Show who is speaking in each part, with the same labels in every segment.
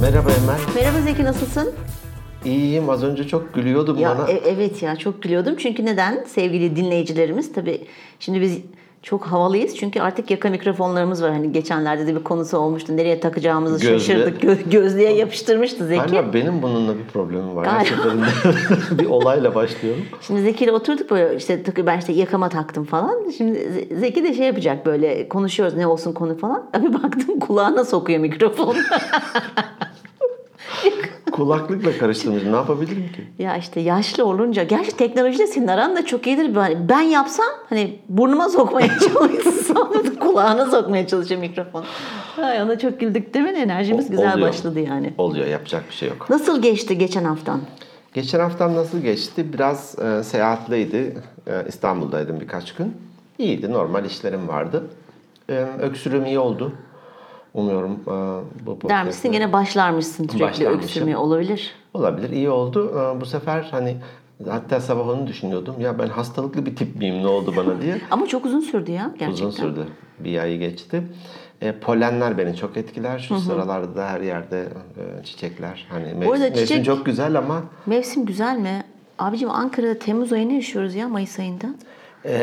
Speaker 1: Merhaba Emel.
Speaker 2: Merhaba Zeki nasılsın?
Speaker 1: İyiyim. Az önce çok gülüyordun
Speaker 2: Ya
Speaker 1: bana.
Speaker 2: e- evet ya çok gülüyordum. Çünkü neden? Sevgili dinleyicilerimiz tabii şimdi biz çok havalıyız. Çünkü artık yaka mikrofonlarımız var. Hani geçenlerde de bir konusu olmuştu. Nereye takacağımızı
Speaker 1: Gözlü.
Speaker 2: şaşırdık. Gö- gözlüğe yapıştırmıştı Zeki.
Speaker 1: Galiba benim bununla bir problemim var. Her
Speaker 2: Galiba.
Speaker 1: seferinde bir olayla başlıyorum.
Speaker 2: Şimdi Zeki ile oturduk böyle işte tık- ben işte yakama taktım falan. Şimdi Ze- Zeki de şey yapacak böyle konuşuyoruz ne olsun konu falan. Bir baktım kulağına sokuyor mikrofonu.
Speaker 1: Kulaklıkla karıştırmış. Ne yapabilirim ki?
Speaker 2: Ya işte yaşlı olunca, gerçi teknolojide senin aran da çok iyidir. Ben, ben yapsam hani burnuma sokmaya çalışsam kulağına sokmaya çalışıyor mikrofon. Ay ona çok güldük değil mi? Enerjimiz güzel
Speaker 1: Oluyor.
Speaker 2: başladı yani.
Speaker 1: Oluyor. Yapacak bir şey yok.
Speaker 2: Nasıl geçti geçen haftan?
Speaker 1: Geçen haftam nasıl geçti? Biraz e, seyahatleydi. E, İstanbul'daydım birkaç gün. İyiydi. Normal işlerim vardı. E, öksürüğüm iyi oldu. Umuyorum e, bu
Speaker 2: Der misin?
Speaker 1: podcast'ı-
Speaker 2: Gene başlarmışsın sürekli
Speaker 1: Başlarmışım.
Speaker 2: öksürmeye olabilir.
Speaker 1: Olabilir. iyi oldu. Ee, Bu sefer hani hatta sabah onu düşünüyordum. Ya ben hastalıklı bir tip miyim ne oldu bana diye.
Speaker 2: Ama çok uzun sürdü ya gerçekten.
Speaker 1: Uzun sürdü. Bir ayı geçti. E, polenler beni çok etkiler. Şu sıralarda da her yerde e, çiçekler. Hani mevsim,
Speaker 2: arada
Speaker 1: mevsim
Speaker 2: çiçek-
Speaker 1: çok güzel ama
Speaker 2: Mevsim güzel mi? Abicim Ankara'da Temmuz ayını yaşıyoruz ya Mayıs ayında.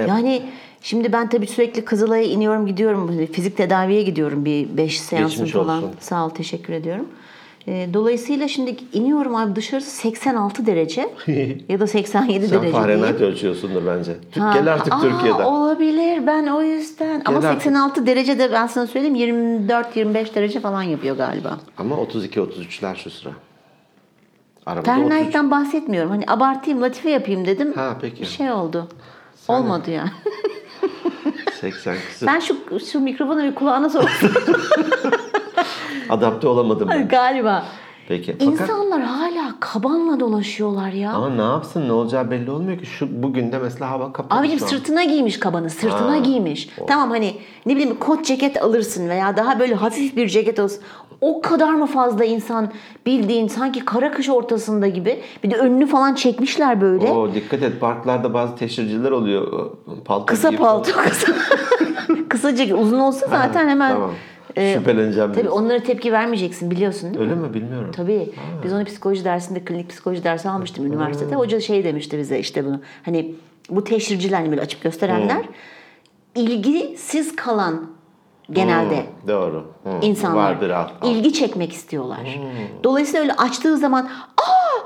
Speaker 2: yani şimdi ben tabii sürekli Kızılay'a iniyorum gidiyorum. Hani Fizik tedaviye gidiyorum bir 5 seansım
Speaker 1: Geçmiş
Speaker 2: falan.
Speaker 1: olsun.
Speaker 2: Sağ ol teşekkür ediyorum. Ee, dolayısıyla şimdi iniyorum abi dışarısı 86 derece ya da 87
Speaker 1: sen
Speaker 2: derece diyeyim.
Speaker 1: Fahrenheit ölçüyorsundur bence. Tür-
Speaker 2: Ha,
Speaker 1: Gel artık
Speaker 2: aa,
Speaker 1: Türkiye'den.
Speaker 2: Olabilir ben o yüzden. Ama
Speaker 1: Gel artık.
Speaker 2: 86 derecede ben sana söyleyeyim 24-25 derece falan yapıyor galiba.
Speaker 1: Ama 32-33'ler şu sıra. Arabada 33
Speaker 2: Fahrenheit'ten bahsetmiyorum. Hani abartayım, latife yapayım dedim.
Speaker 1: Ha, peki.
Speaker 2: Bir şey oldu. Olmadı yani.
Speaker 1: 80 küsur.
Speaker 2: Ben şu şu mikrofonu bir kulağına soktum
Speaker 1: Adapte olamadım ben.
Speaker 2: galiba.
Speaker 1: Peki. Fakat
Speaker 2: İnsanlar hala kabanla dolaşıyorlar ya.
Speaker 1: ama ne yapsın ne olacağı belli olmuyor ki. Şu bugün de mesela hava kapalı.
Speaker 2: Abicim
Speaker 1: şu an.
Speaker 2: sırtına giymiş kabanı, sırtına
Speaker 1: Ha,
Speaker 2: giymiş. Tamam hani ne bileyim kot ceket alırsın veya daha böyle hafif bir ceket alırsın. O kadar mı fazla insan bildiğin sanki kara kış ortasında gibi. Bir de önünü falan çekmişler böyle.
Speaker 1: Oo, dikkat et parklarda bazı teşhirciler oluyor. Palto
Speaker 2: Kısa
Speaker 1: giyip-
Speaker 2: palto kısa. kısa ceket. Uzun olsa zaten hemen.
Speaker 1: Tamam.
Speaker 2: e,
Speaker 1: Şüpheleneceğim.
Speaker 2: Tabii
Speaker 1: diyorsun.
Speaker 2: onlara tepki vermeyeceksin biliyorsun değil mi?
Speaker 1: Öyle mi bilmiyorum.
Speaker 2: Tabii. Biz onu psikoloji dersinde, klinik psikoloji dersi almıştım üniversitede. Hoca şey demişti bize işte bunu. Hani bu teşhirciler hani böyle açık gösterenler ilgisiz kalan genelde
Speaker 1: Hı, doğru. Hı,
Speaker 2: insanlar
Speaker 1: Vardır alt. alt. Hmm.
Speaker 2: ilgi çekmek istiyorlar. Dolayısıyla öyle açtığı zaman aa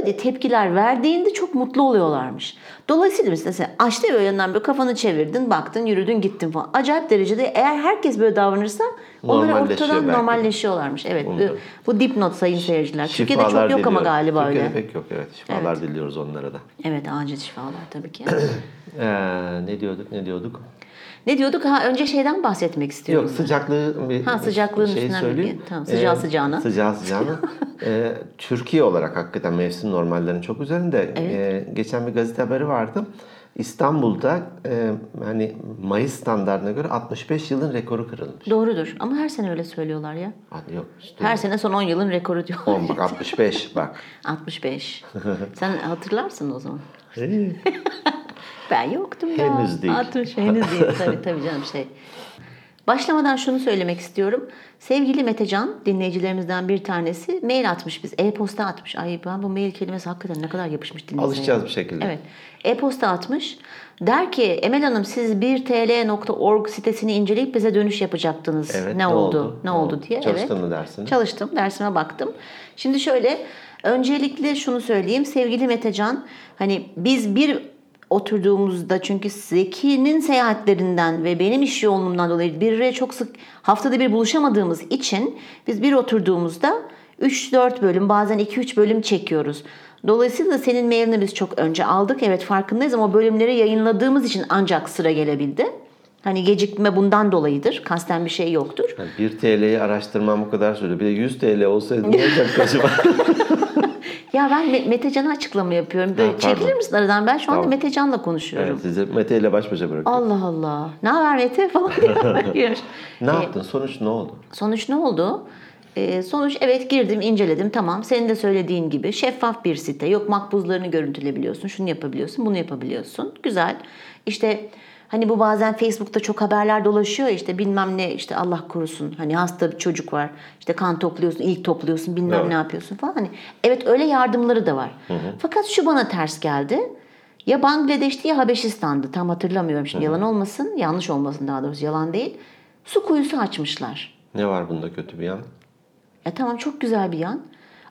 Speaker 2: hı diye tepkiler verdiğinde çok mutlu oluyorlarmış. Dolayısıyla mesela sen açtı ya böyle yanından böyle kafanı çevirdin, baktın, yürüdün, gittin falan. Acayip derecede eğer herkes böyle davranırsa onlar
Speaker 1: Normalleşiyor
Speaker 2: ortadan
Speaker 1: belki.
Speaker 2: normalleşiyorlarmış. Evet. Bu,
Speaker 1: Umarım.
Speaker 2: bu dipnot sayın seyirciler. Türkiye'de çok
Speaker 1: Şifalar
Speaker 2: yok ama
Speaker 1: diliyorum.
Speaker 2: galiba
Speaker 1: Türkiye'de
Speaker 2: öyle.
Speaker 1: pek yok evet. Şifalar diliyoruz onlara da.
Speaker 2: Evet, acil şifalar tabii ki.
Speaker 1: Ee, ne diyorduk ne diyorduk?
Speaker 2: ne diyorduk? Ha önce şeyden bahsetmek istiyorum.
Speaker 1: Yok sıcaklığı bir
Speaker 2: Ee, Ha, sıcaklığın
Speaker 1: şey
Speaker 2: üstünden
Speaker 1: söyleyeyim. Ee,
Speaker 2: bir- tamam, sıcağı sıcağına.
Speaker 1: Sıcağı sıcağına. Ee, Türkiye olarak hakikaten mevsim normallerinin çok üzerinde. Ee, geçen bir gazete haberi vardı. İstanbul'da e, hani Mayıs standartına göre 65 yılın rekoru kırılmış.
Speaker 2: Doğrudur. Ama her sene öyle söylüyorlar ya.
Speaker 1: Hadi yok işte.
Speaker 2: Her sene son 10 yılın rekoru diyorlar.
Speaker 1: Oğlum bak 65 bak.
Speaker 2: 65. Sen hatırlarsın o zaman.
Speaker 1: Hey.
Speaker 2: Ben yoktum ya.
Speaker 1: Henüz değil.
Speaker 2: 60, henüz değil. Tabii tabii canım şey. Başlamadan şunu söylemek istiyorum. Sevgili Metecan dinleyicilerimizden bir tanesi mail atmış biz. E-posta atmış. Ay ben bu mail kelimesi hakikaten ne kadar yapışmış dinleyicilere.
Speaker 1: Alışacağız bir şekilde.
Speaker 2: Evet. E-posta atmış. Der ki Emel Hanım siz 1tl.org sitesini inceleyip bize dönüş yapacaktınız.
Speaker 1: Evet,
Speaker 2: ne, oldu? Ne oldu diye.
Speaker 1: Çalıştın
Speaker 2: evet.
Speaker 1: mı dersini?
Speaker 2: Çalıştım, dersime baktım. Şimdi şöyle, öncelikle şunu söyleyeyim. Sevgili Metecan, hani biz bir oturduğumuzda çünkü Zeki'nin seyahatlerinden ve benim iş yoğunluğumdan dolayı birbirine çok sık haftada bir buluşamadığımız için biz bir oturduğumuzda 3-4 bölüm bazen 2-3 bölüm çekiyoruz. Dolayısıyla senin mailini biz çok önce aldık. Evet farkındayız ama bölümleri yayınladığımız için ancak sıra gelebildi. Hani gecikme bundan dolayıdır. Kasten bir şey yoktur.
Speaker 1: Yani 1 TL'yi araştırmam bu kadar sürdü. Bir de 100 TL olsaydı ne olacaktı acaba?
Speaker 2: Ya ben Me- Metecan'a açıklama yapıyorum. Böyle
Speaker 1: Ha, pardon.
Speaker 2: çekilir misin aradan? Ben şu anda
Speaker 1: Tamam.
Speaker 2: Metecan'la konuşuyorum.
Speaker 1: evet, sizi Mete ile baş başa bırakıyorum.
Speaker 2: Allah Allah. Ne haber Mete falan diyor.
Speaker 1: Ne yaptın? Sonuç ne oldu?
Speaker 2: Sonuç ne oldu? Ee, sonuç evet girdim inceledim tamam senin de söylediğin gibi şeffaf bir site yok makbuzlarını görüntüleyebiliyorsun şunu yapabiliyorsun bunu yapabiliyorsun güzel işte Hani bu bazen Facebook'ta çok haberler dolaşıyor ya, işte bilmem ne işte Allah korusun hani hasta bir çocuk var işte kan topluyorsun ilk topluyorsun bilmem
Speaker 1: Evet.
Speaker 2: ne yapıyorsun falan hani evet öyle yardımları da var. Fakat şu bana ters geldi. Ya Bangladeş'ti ya Habeşistan'dı tam hatırlamıyorum şimdi yalan olmasın yanlış olmasın daha doğrusu yalan değil. Su kuyusu açmışlar.
Speaker 1: Ne var bunda kötü bir yan?
Speaker 2: Ya tamam çok güzel bir yan.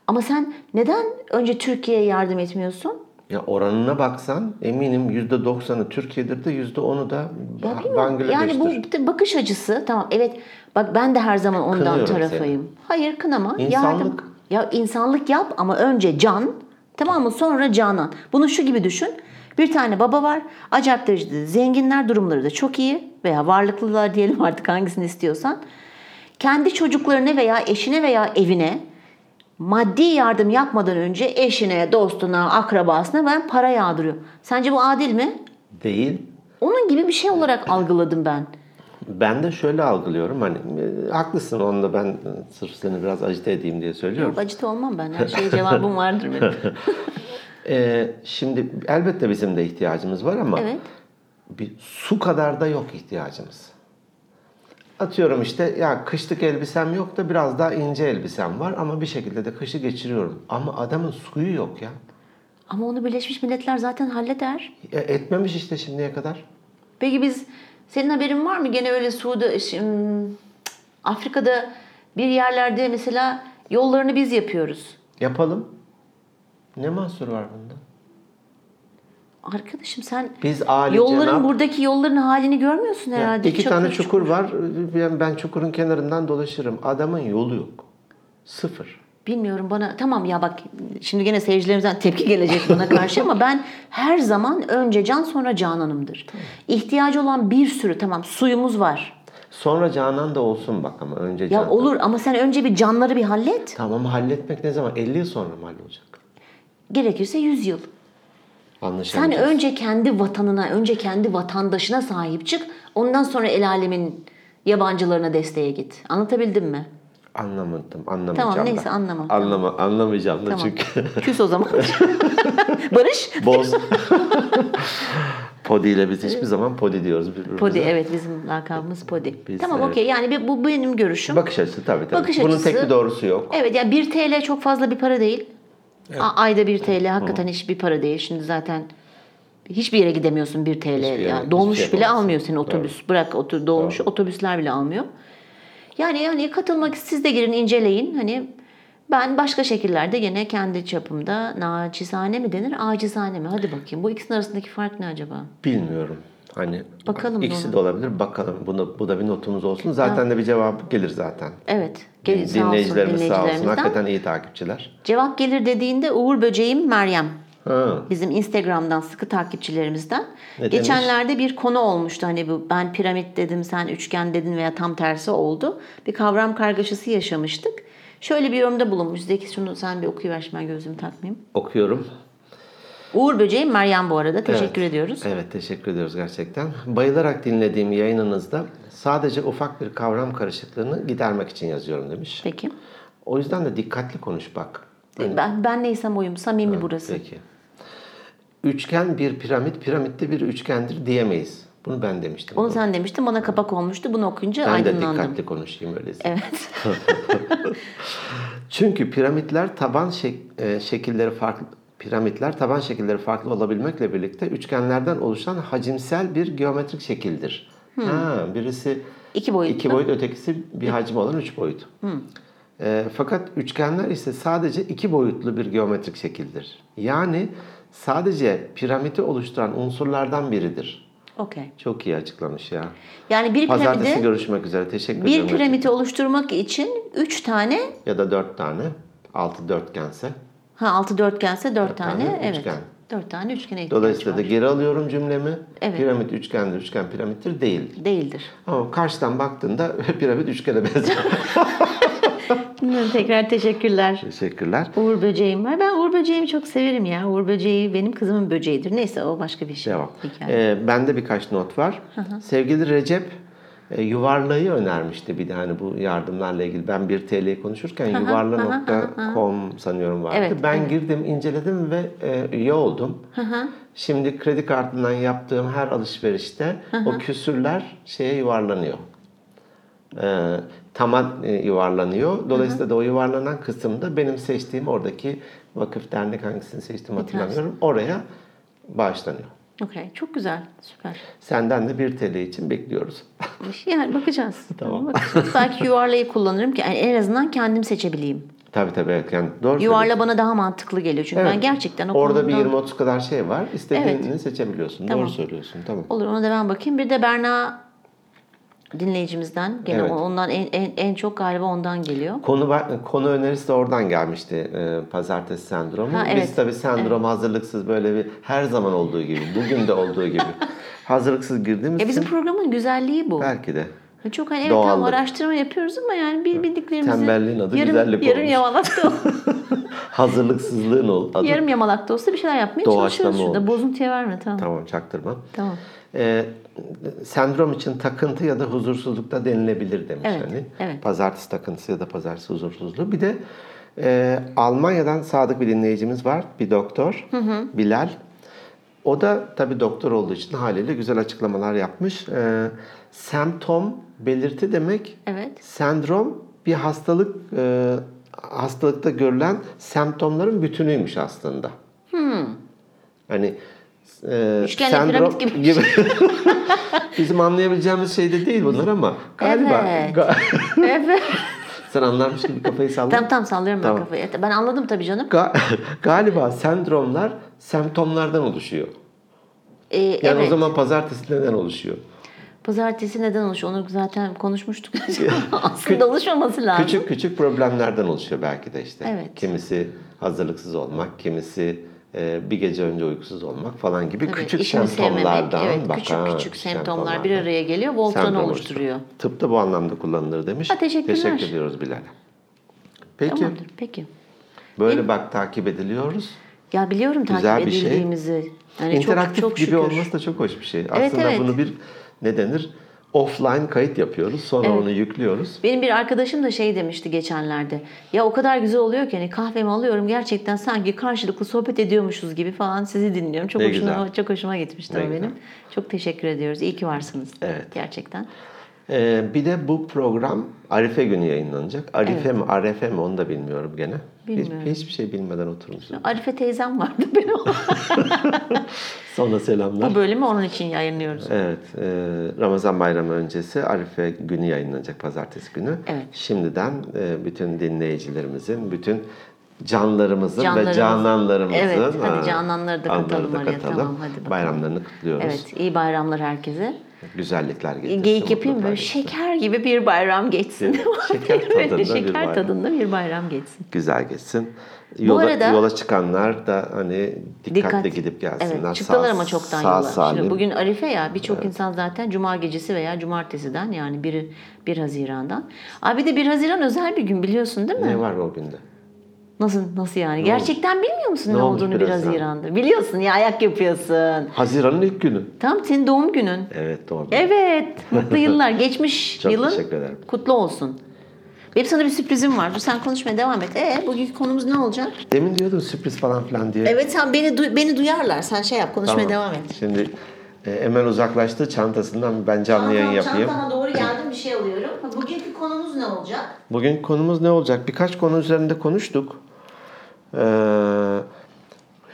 Speaker 2: Ama sen neden önce Türkiye'ye yardım etmiyorsun?
Speaker 1: Ya oranına baksan eminim %90'ı Türkiye'dir de %10'u da
Speaker 2: Ya
Speaker 1: Ba-
Speaker 2: bilmiyorum.
Speaker 1: Bangladeş'tir.
Speaker 2: Yani bu bir bakış açısı tamam evet bak ben de her zaman ondan
Speaker 1: Kınıyorum
Speaker 2: tarafayım. Hayır kınama.
Speaker 1: İnsanlık.
Speaker 2: Yardım. Ya insanlık yap ama önce can tamam mı sonra canan. Bunu şu gibi düşün. Bir tane baba var. Acayip derecede zenginler durumları da çok iyi veya varlıklılar diyelim artık hangisini istiyorsan. Kendi çocuklarına veya eşine veya evine maddi yardım yapmadan önce eşine, dostuna, akrabasına ben para yağdırıyor. Sence bu adil mi?
Speaker 1: Değil.
Speaker 2: Onun gibi bir şey olarak algıladım ben.
Speaker 1: Ben de şöyle algılıyorum hani e, haklısın onu da ben e, sırf seni biraz acite edeyim diye söylüyorum.
Speaker 2: Yok acıta olmam ben. Her şeye cevabım vardır benim.
Speaker 1: E, şimdi elbette bizim de ihtiyacımız var ama
Speaker 2: Evet.
Speaker 1: bir su kadar da yok ihtiyacımız. Atıyorum işte ya kışlık elbisem yok da biraz daha ince elbisem var ama bir şekilde de kışı geçiriyorum. Ama adamın suyu yok ya.
Speaker 2: Ama onu Birleşmiş Milletler zaten halleder.
Speaker 1: E, etmemiş işte şimdiye kadar.
Speaker 2: Peki biz senin haberin var mı? Gene öyle Suudi, şimdi, Afrika'da bir yerlerde mesela yollarını biz yapıyoruz.
Speaker 1: Yapalım. Ne mahsur var bunda?
Speaker 2: Arkadaşım sen
Speaker 1: Biz Ali
Speaker 2: yolların
Speaker 1: Cenab-
Speaker 2: buradaki yolların halini görmüyorsun
Speaker 1: Ya
Speaker 2: herhalde.
Speaker 1: iki
Speaker 2: Çukur,
Speaker 1: tane çukur, var. Ben, ben çukurun kenarından dolaşırım. Adamın yolu yok. Sıfır.
Speaker 2: Bilmiyorum bana tamam ya bak şimdi gene seyircilerimizden tepki gelecek bana karşı ama ben her zaman önce can sonra cananımdır. İhtiyacı olan bir sürü tamam suyumuz var.
Speaker 1: Sonra Canan da olsun bak ama önce
Speaker 2: Ya
Speaker 1: Canan.
Speaker 2: olur ama sen önce bir canları bir hallet.
Speaker 1: Tamam halletmek ne zaman? 50 yıl sonra mı hallolacak?
Speaker 2: Gerekirse 100 yıl. Sen
Speaker 1: Anlaşılacak.
Speaker 2: önce kendi vatanına, önce kendi vatandaşına sahip çık. Ondan sonra el alemin yabancılarına desteğe git. Anlatabildim mi?
Speaker 1: Anlamadım. Anlamayacağım
Speaker 2: Tamam,
Speaker 1: da.
Speaker 2: neyse, anlama, tamam.
Speaker 1: Anlama, Anlamayacağım da
Speaker 2: Tamam.
Speaker 1: çünkü.
Speaker 2: Küs o zaman. Barış.
Speaker 1: Boz. Podi ile biz hiçbir zaman podi diyoruz birbirimize.
Speaker 2: Ee, Podi evet bizim lakabımız Podi.
Speaker 1: Biz,
Speaker 2: tamam
Speaker 1: evet.
Speaker 2: okey yani bir- bu benim görüşüm.
Speaker 1: Bakış açısı tabii tabii.
Speaker 2: Bakış
Speaker 1: Bunun
Speaker 2: açısı-
Speaker 1: tek bir doğrusu yok.
Speaker 2: Evet ya 1 TL çok fazla bir para değil. A- ayda 1 TL hakikaten hiçbir para değil. Şimdi zaten hiçbir yere gidemiyorsun 1 TL.
Speaker 1: yere, hiçbir
Speaker 2: ya. Dolmuş
Speaker 1: şey
Speaker 2: bile
Speaker 1: yapamazsın.
Speaker 2: almıyor seni otobüs. Bırak otur dolmuş otobüsler bile almıyor. Yani yani katılmak siz de girin inceleyin. Hani ben başka şekillerde gene kendi çapımda naçizane mi denir, acizane mi? Hadi bakayım. Bu ikisinin arasındaki fark ne acaba?
Speaker 1: Bilmiyorum. Hani
Speaker 2: Bakalım
Speaker 1: ikisi
Speaker 2: ona.
Speaker 1: de olabilir. Bakalım. Buna, bu da bir notumuz olsun. Zaten de bir cevap gelir zaten.
Speaker 2: Evet. Gelin, sağ olsun
Speaker 1: dinleyicilerimiz sağ olsun.
Speaker 2: dinleyicilerimizden.
Speaker 1: Hakikaten iyi takipçiler.
Speaker 2: Cevap gelir dediğinde Uğur Böceğim Meryem
Speaker 1: Ha.
Speaker 2: bizim Instagram'dan sıkı takipçilerimizden.
Speaker 1: Ne demiş?
Speaker 2: Geçenlerde bir konu olmuştu hani bu ben piramit dedim sen üçgen dedin veya tam tersi oldu. Bir kavram kargaşası yaşamıştık. Şöyle bir yorumda bulunmuş. Zeki şunu sen bir okuyuver şimdi ben gözümü takmayayım.
Speaker 1: Okuyorum.
Speaker 2: Uğur Böceğim Meryem bu arada. Teşekkür
Speaker 1: Evet.
Speaker 2: ediyoruz.
Speaker 1: Evet teşekkür ediyoruz gerçekten. Bayılarak dinlediğim yayınınızda sadece ufak bir kavram karışıklığını gidermek için yazıyorum demiş.
Speaker 2: Peki.
Speaker 1: O yüzden de dikkatli konuş bak.
Speaker 2: Ben, ben neysem oyum. Samimi burası.
Speaker 1: Peki. Üçgen bir piramit, piramitte bir üçgendir diyemeyiz. Bunu ben demiştim.
Speaker 2: Onu sen demiştin bana kapak olmuştu. Bunu okuyunca
Speaker 1: ben de
Speaker 2: aydınlandım.
Speaker 1: dikkatli konuşayım öyleyse.
Speaker 2: Evet.
Speaker 1: Çünkü piramitler taban şek- e, şekilleri farklı piramitler taban şekilleri farklı olabilmekle birlikte üçgenlerden oluşan hacimsel bir geometrik şekildir.
Speaker 2: Hmm.
Speaker 1: Ha, birisi
Speaker 2: İki boyutlu.
Speaker 1: iki boyut, ötekisi bir hacim olan üç boyut. E, fakat üçgenler ise sadece iki boyutlu bir geometrik şekildir. Yani sadece piramidi oluşturan unsurlardan biridir.
Speaker 2: Okey.
Speaker 1: Çok iyi açıklamış ya.
Speaker 2: Yani bir
Speaker 1: Pazartesi
Speaker 2: piramidi
Speaker 1: görüşmek üzere. Teşekkür
Speaker 2: bir
Speaker 1: ediyorum.
Speaker 2: piramidi oluşturmak için üç tane
Speaker 1: Ya da dört tane. Altı dörtgense.
Speaker 2: Ha altı dörtgense dört tane,
Speaker 1: tane
Speaker 2: evet.
Speaker 1: üçgen.
Speaker 2: Dört tane üçgene ihtiyaç
Speaker 1: Dolayısıyla
Speaker 2: var.
Speaker 1: da geri alıyorum cümlemi.
Speaker 2: Evet.
Speaker 1: Piramit üçgendir, üçgen piramittir değil.
Speaker 2: Değildir.
Speaker 1: Ama karşıdan baktığında piramit üçgene benziyor.
Speaker 2: Bilmiyorum, Tekrar teşekkürler.
Speaker 1: Teşekkürler.
Speaker 2: Uğur böceğim var. Ben Uğur böceğimi çok severim ya. Uğur böceği benim kızımın böceğidir. Neyse o başka bir şey.
Speaker 1: Cevap.
Speaker 2: Hikaye.
Speaker 1: Ee, bende birkaç not var. Sevgili Recep, e, yuvarlayı önermişti bir de hani bu yardımlarla ilgili. Ben 1 TL konuşurken yuvarla.com sanıyorum vardı.
Speaker 2: Evet,
Speaker 1: ben
Speaker 2: evet.
Speaker 1: girdim, inceledim ve e, üye oldum. Şimdi kredi kartından yaptığım her alışverişte o küsürler şeye yuvarlanıyor. E, tamam e, yuvarlanıyor. Dolayısıyla da o yuvarlanan kısımda benim seçtiğim oradaki vakıf dernek hangisini seçtim hatırlamıyorum. Oraya bağışlanıyor.
Speaker 2: Okey. Çok güzel. Süper. şey,
Speaker 1: Senden de 1 TL için bekliyoruz.
Speaker 2: Yani bakacağız. tamam. Bakacağız. Belki yuvarlayı kullanırım ki yani en azından kendim seçebileyim.
Speaker 1: tabii tabii evet. Yani doğru söylüyorsun.
Speaker 2: Yuvarla bana daha mantıklı geliyor. Çünkü ben
Speaker 1: Evet.
Speaker 2: gerçekten o
Speaker 1: Orada bir
Speaker 2: konuda-
Speaker 1: 20-30 kadar şey var. İstediğini
Speaker 2: Evet.
Speaker 1: seçebiliyorsun.
Speaker 2: Tamam.
Speaker 1: Doğru söylüyorsun. Tamam.
Speaker 2: Olur ona da ben bakayım. Bir de Berna dinleyicimizden. Gene
Speaker 1: Evet.
Speaker 2: ondan en, en, en çok galiba ondan geliyor.
Speaker 1: Konu ba- konu önerisi de oradan gelmişti. e, pazartesi sendromu.
Speaker 2: Ha, evet.
Speaker 1: Biz tabii sendrom hazırlıksız böyle bir her zaman olduğu gibi, bugün de olduğu gibi hazırlıksız girdiğimiz
Speaker 2: Ya E, bizim
Speaker 1: için
Speaker 2: programın güzelliği bu.
Speaker 1: belki de.
Speaker 2: Çok hani evet
Speaker 1: Doğallık.
Speaker 2: tam araştırma yapıyoruz ama yani bil- bildiklerimizi
Speaker 1: Tembelliğin adı
Speaker 2: yarım,
Speaker 1: güzellik
Speaker 2: yarım
Speaker 1: olmuş.
Speaker 2: yamalak da olsa,
Speaker 1: Hazırlıksızlığın ol. adı.
Speaker 2: yarım yamalak da olsa bir şeyler yapmaya
Speaker 1: Doğaçlama
Speaker 2: çalışıyoruz şurada.
Speaker 1: olmuş.
Speaker 2: Bozuntuya verme tamam. Tamam.
Speaker 1: Tamam çaktırma. E, sendrom için takıntı ya da huzursuzlukta denilebilir demiş
Speaker 2: Evet,
Speaker 1: hani.
Speaker 2: evet.
Speaker 1: Pazartesi takıntısı ya da pazartesi huzursuzluğu. Bir de e, Almanya'dan sadık bir dinleyicimiz var. Bir doktor. Bilal. O da tabii doktor olduğu için haliyle güzel açıklamalar yapmış. E, semptom belirti demek.
Speaker 2: Evet.
Speaker 1: Sendrom bir hastalık e, hastalıkta görülen semptomların bütünüymüş aslında. Hani e,
Speaker 2: Üçgenle
Speaker 1: sendrom
Speaker 2: Hmm. piramit gibi. şey.
Speaker 1: Bizim anlayabileceğimiz şey de değil bunlar ama galiba
Speaker 2: Evet.
Speaker 1: ga-
Speaker 2: evet.
Speaker 1: sen anlarmış gibi kafayı
Speaker 2: Tamam
Speaker 1: salladın.
Speaker 2: tamam sallıyorum
Speaker 1: Tamam.
Speaker 2: ben kafayı. Ben anladım tabii canım.
Speaker 1: Ga- galiba sendromlar semptomlardan oluşuyor.
Speaker 2: Ee,
Speaker 1: Yani
Speaker 2: evet.
Speaker 1: o zaman pazartesi neden oluşuyor?
Speaker 2: Pazartesi neden oluşuyor? Onu zaten konuşmuştuk. Aslında oluşmaması lazım.
Speaker 1: Küçük küçük problemlerden oluşuyor belki de işte.
Speaker 2: Evet.
Speaker 1: Kimisi hazırlıksız olmak, kimisi e, bir gece önce uykusuz olmak falan gibi
Speaker 2: Tabii,
Speaker 1: küçük
Speaker 2: işimi
Speaker 1: semptomlardan.
Speaker 2: sevmemek, evet,
Speaker 1: bak
Speaker 2: küçük
Speaker 1: ha,
Speaker 2: küçük semptomlar bir
Speaker 1: semptomlardan
Speaker 2: araya geliyor, voltranı
Speaker 1: sendrom
Speaker 2: oluşturuyor.
Speaker 1: Tıpta bu anlamda kullanılır demiş.
Speaker 2: Ha, teşekkürler.
Speaker 1: Teşekkür ediyoruz Bilal'e. Peki
Speaker 2: Tamamdır. Peki.
Speaker 1: böyle bak takip ediliyoruz.
Speaker 2: Ya biliyorum
Speaker 1: Güzel
Speaker 2: takip
Speaker 1: bir şey.
Speaker 2: edildiğimizi. Yani
Speaker 1: İnteraktif
Speaker 2: çok, çok
Speaker 1: gibi
Speaker 2: şükür.
Speaker 1: olması da çok hoş bir şey. Aslında
Speaker 2: evet.
Speaker 1: bunu bir ne denir? Offline kayıt yapıyoruz. Sonra onu yüklüyoruz.
Speaker 2: Benim bir arkadaşım da şey demişti geçenlerde. Ya o kadar güzel oluyor ki hani kahvemi alıyorum gerçekten sanki karşılıklı sohbet ediyormuşuz gibi falan sizi dinliyorum. Çok
Speaker 1: Ne
Speaker 2: hoşuma
Speaker 1: güzel.
Speaker 2: çok hoşuma gitmişti
Speaker 1: Ne
Speaker 2: o
Speaker 1: güzel.
Speaker 2: benim. Çok teşekkür ediyoruz. İyi ki varsınız.
Speaker 1: Evet.
Speaker 2: Gerçekten.
Speaker 1: Ee, bir de bu program Arife günü yayınlanacak. Arife mi Arefe mi onu da bilmiyorum gene. Hiç-
Speaker 2: Bilmiyorum.
Speaker 1: hiçbir şey bilmeden oturmuşuz.
Speaker 2: Arife teyzem vardı benim.
Speaker 1: Sonra selamlar.
Speaker 2: o bölümü onun için yayınlıyoruz.
Speaker 1: Evet, e, Ramazan bayramı öncesi Arife günü yayınlanacak pazartesi günü.
Speaker 2: Evet.
Speaker 1: Şimdiden e, bütün dinleyicilerimizin, bütün canlarımızın ve
Speaker 2: Canlarımız-
Speaker 1: cananlarımızın
Speaker 2: Evet, hadi
Speaker 1: ha,
Speaker 2: cananları da
Speaker 1: anları
Speaker 2: katalım araya, tamam, hadi bakalım.
Speaker 1: Bayramlarını kutluyoruz.
Speaker 2: Evet, iyi bayramlar herkese.
Speaker 1: Güzellikler getirsin.
Speaker 2: Geyik yapayım
Speaker 1: mutluluklar
Speaker 2: böyle
Speaker 1: getirsin.
Speaker 2: şeker gibi bir bayram geçsin.
Speaker 1: Şeker
Speaker 2: Böyle
Speaker 1: tadında bir
Speaker 2: şeker
Speaker 1: bayram.
Speaker 2: tadında bir bayram geçsin.
Speaker 1: Güzel geçsin. Yola,
Speaker 2: arada-
Speaker 1: yola çıkanlar da hani dikkatli
Speaker 2: Dikkat.
Speaker 1: gidip gelsinler.
Speaker 2: Evet, çıktılar
Speaker 1: Sağ-
Speaker 2: ama çoktan
Speaker 1: sağ
Speaker 2: yola.
Speaker 1: salim.
Speaker 2: Şimdi bugün Arife ya birçok insan zaten cuma gecesi veya cumartesiden yani 1, 1 Haziran'dan. Abi bir de 1 Haziran özel bir gün biliyorsun değil mi?
Speaker 1: Ne var o günde?
Speaker 2: Nasıl nasıl yani? Gerçekten bilmiyor musun ne,
Speaker 1: Ne olmuş
Speaker 2: olduğunu 1
Speaker 1: 1 Haziran?
Speaker 2: Haziran'da? Biliyorsun ya ayak yapıyorsun.
Speaker 1: Haziran'ın ilk günü.
Speaker 2: Tam senin doğum günün.
Speaker 1: Evet doğru.
Speaker 2: Evet. Mutlu yıllar. Geçmiş
Speaker 1: Çok
Speaker 2: yılın
Speaker 1: teşekkür ederim.
Speaker 2: kutlu olsun. Benim sana bir sürprizim var. Dur sen konuşmaya devam et. E bugünkü konumuz ne olacak?
Speaker 1: Demin diyordun sürpriz falan filan diye.
Speaker 2: Evet sen beni du- beni duyarlar. Sen şey yap konuşmaya
Speaker 1: Tamam.
Speaker 2: devam et.
Speaker 1: Şimdi e, Emel uzaklaştı çantasından ben canlı yayın yapayım.
Speaker 2: Çantana doğru geldim bir şey alıyorum. Ha, Bugünkü konumuz ne olacak?
Speaker 1: Bugün konumuz ne olacak? Birkaç konu üzerinde konuştuk. Ee,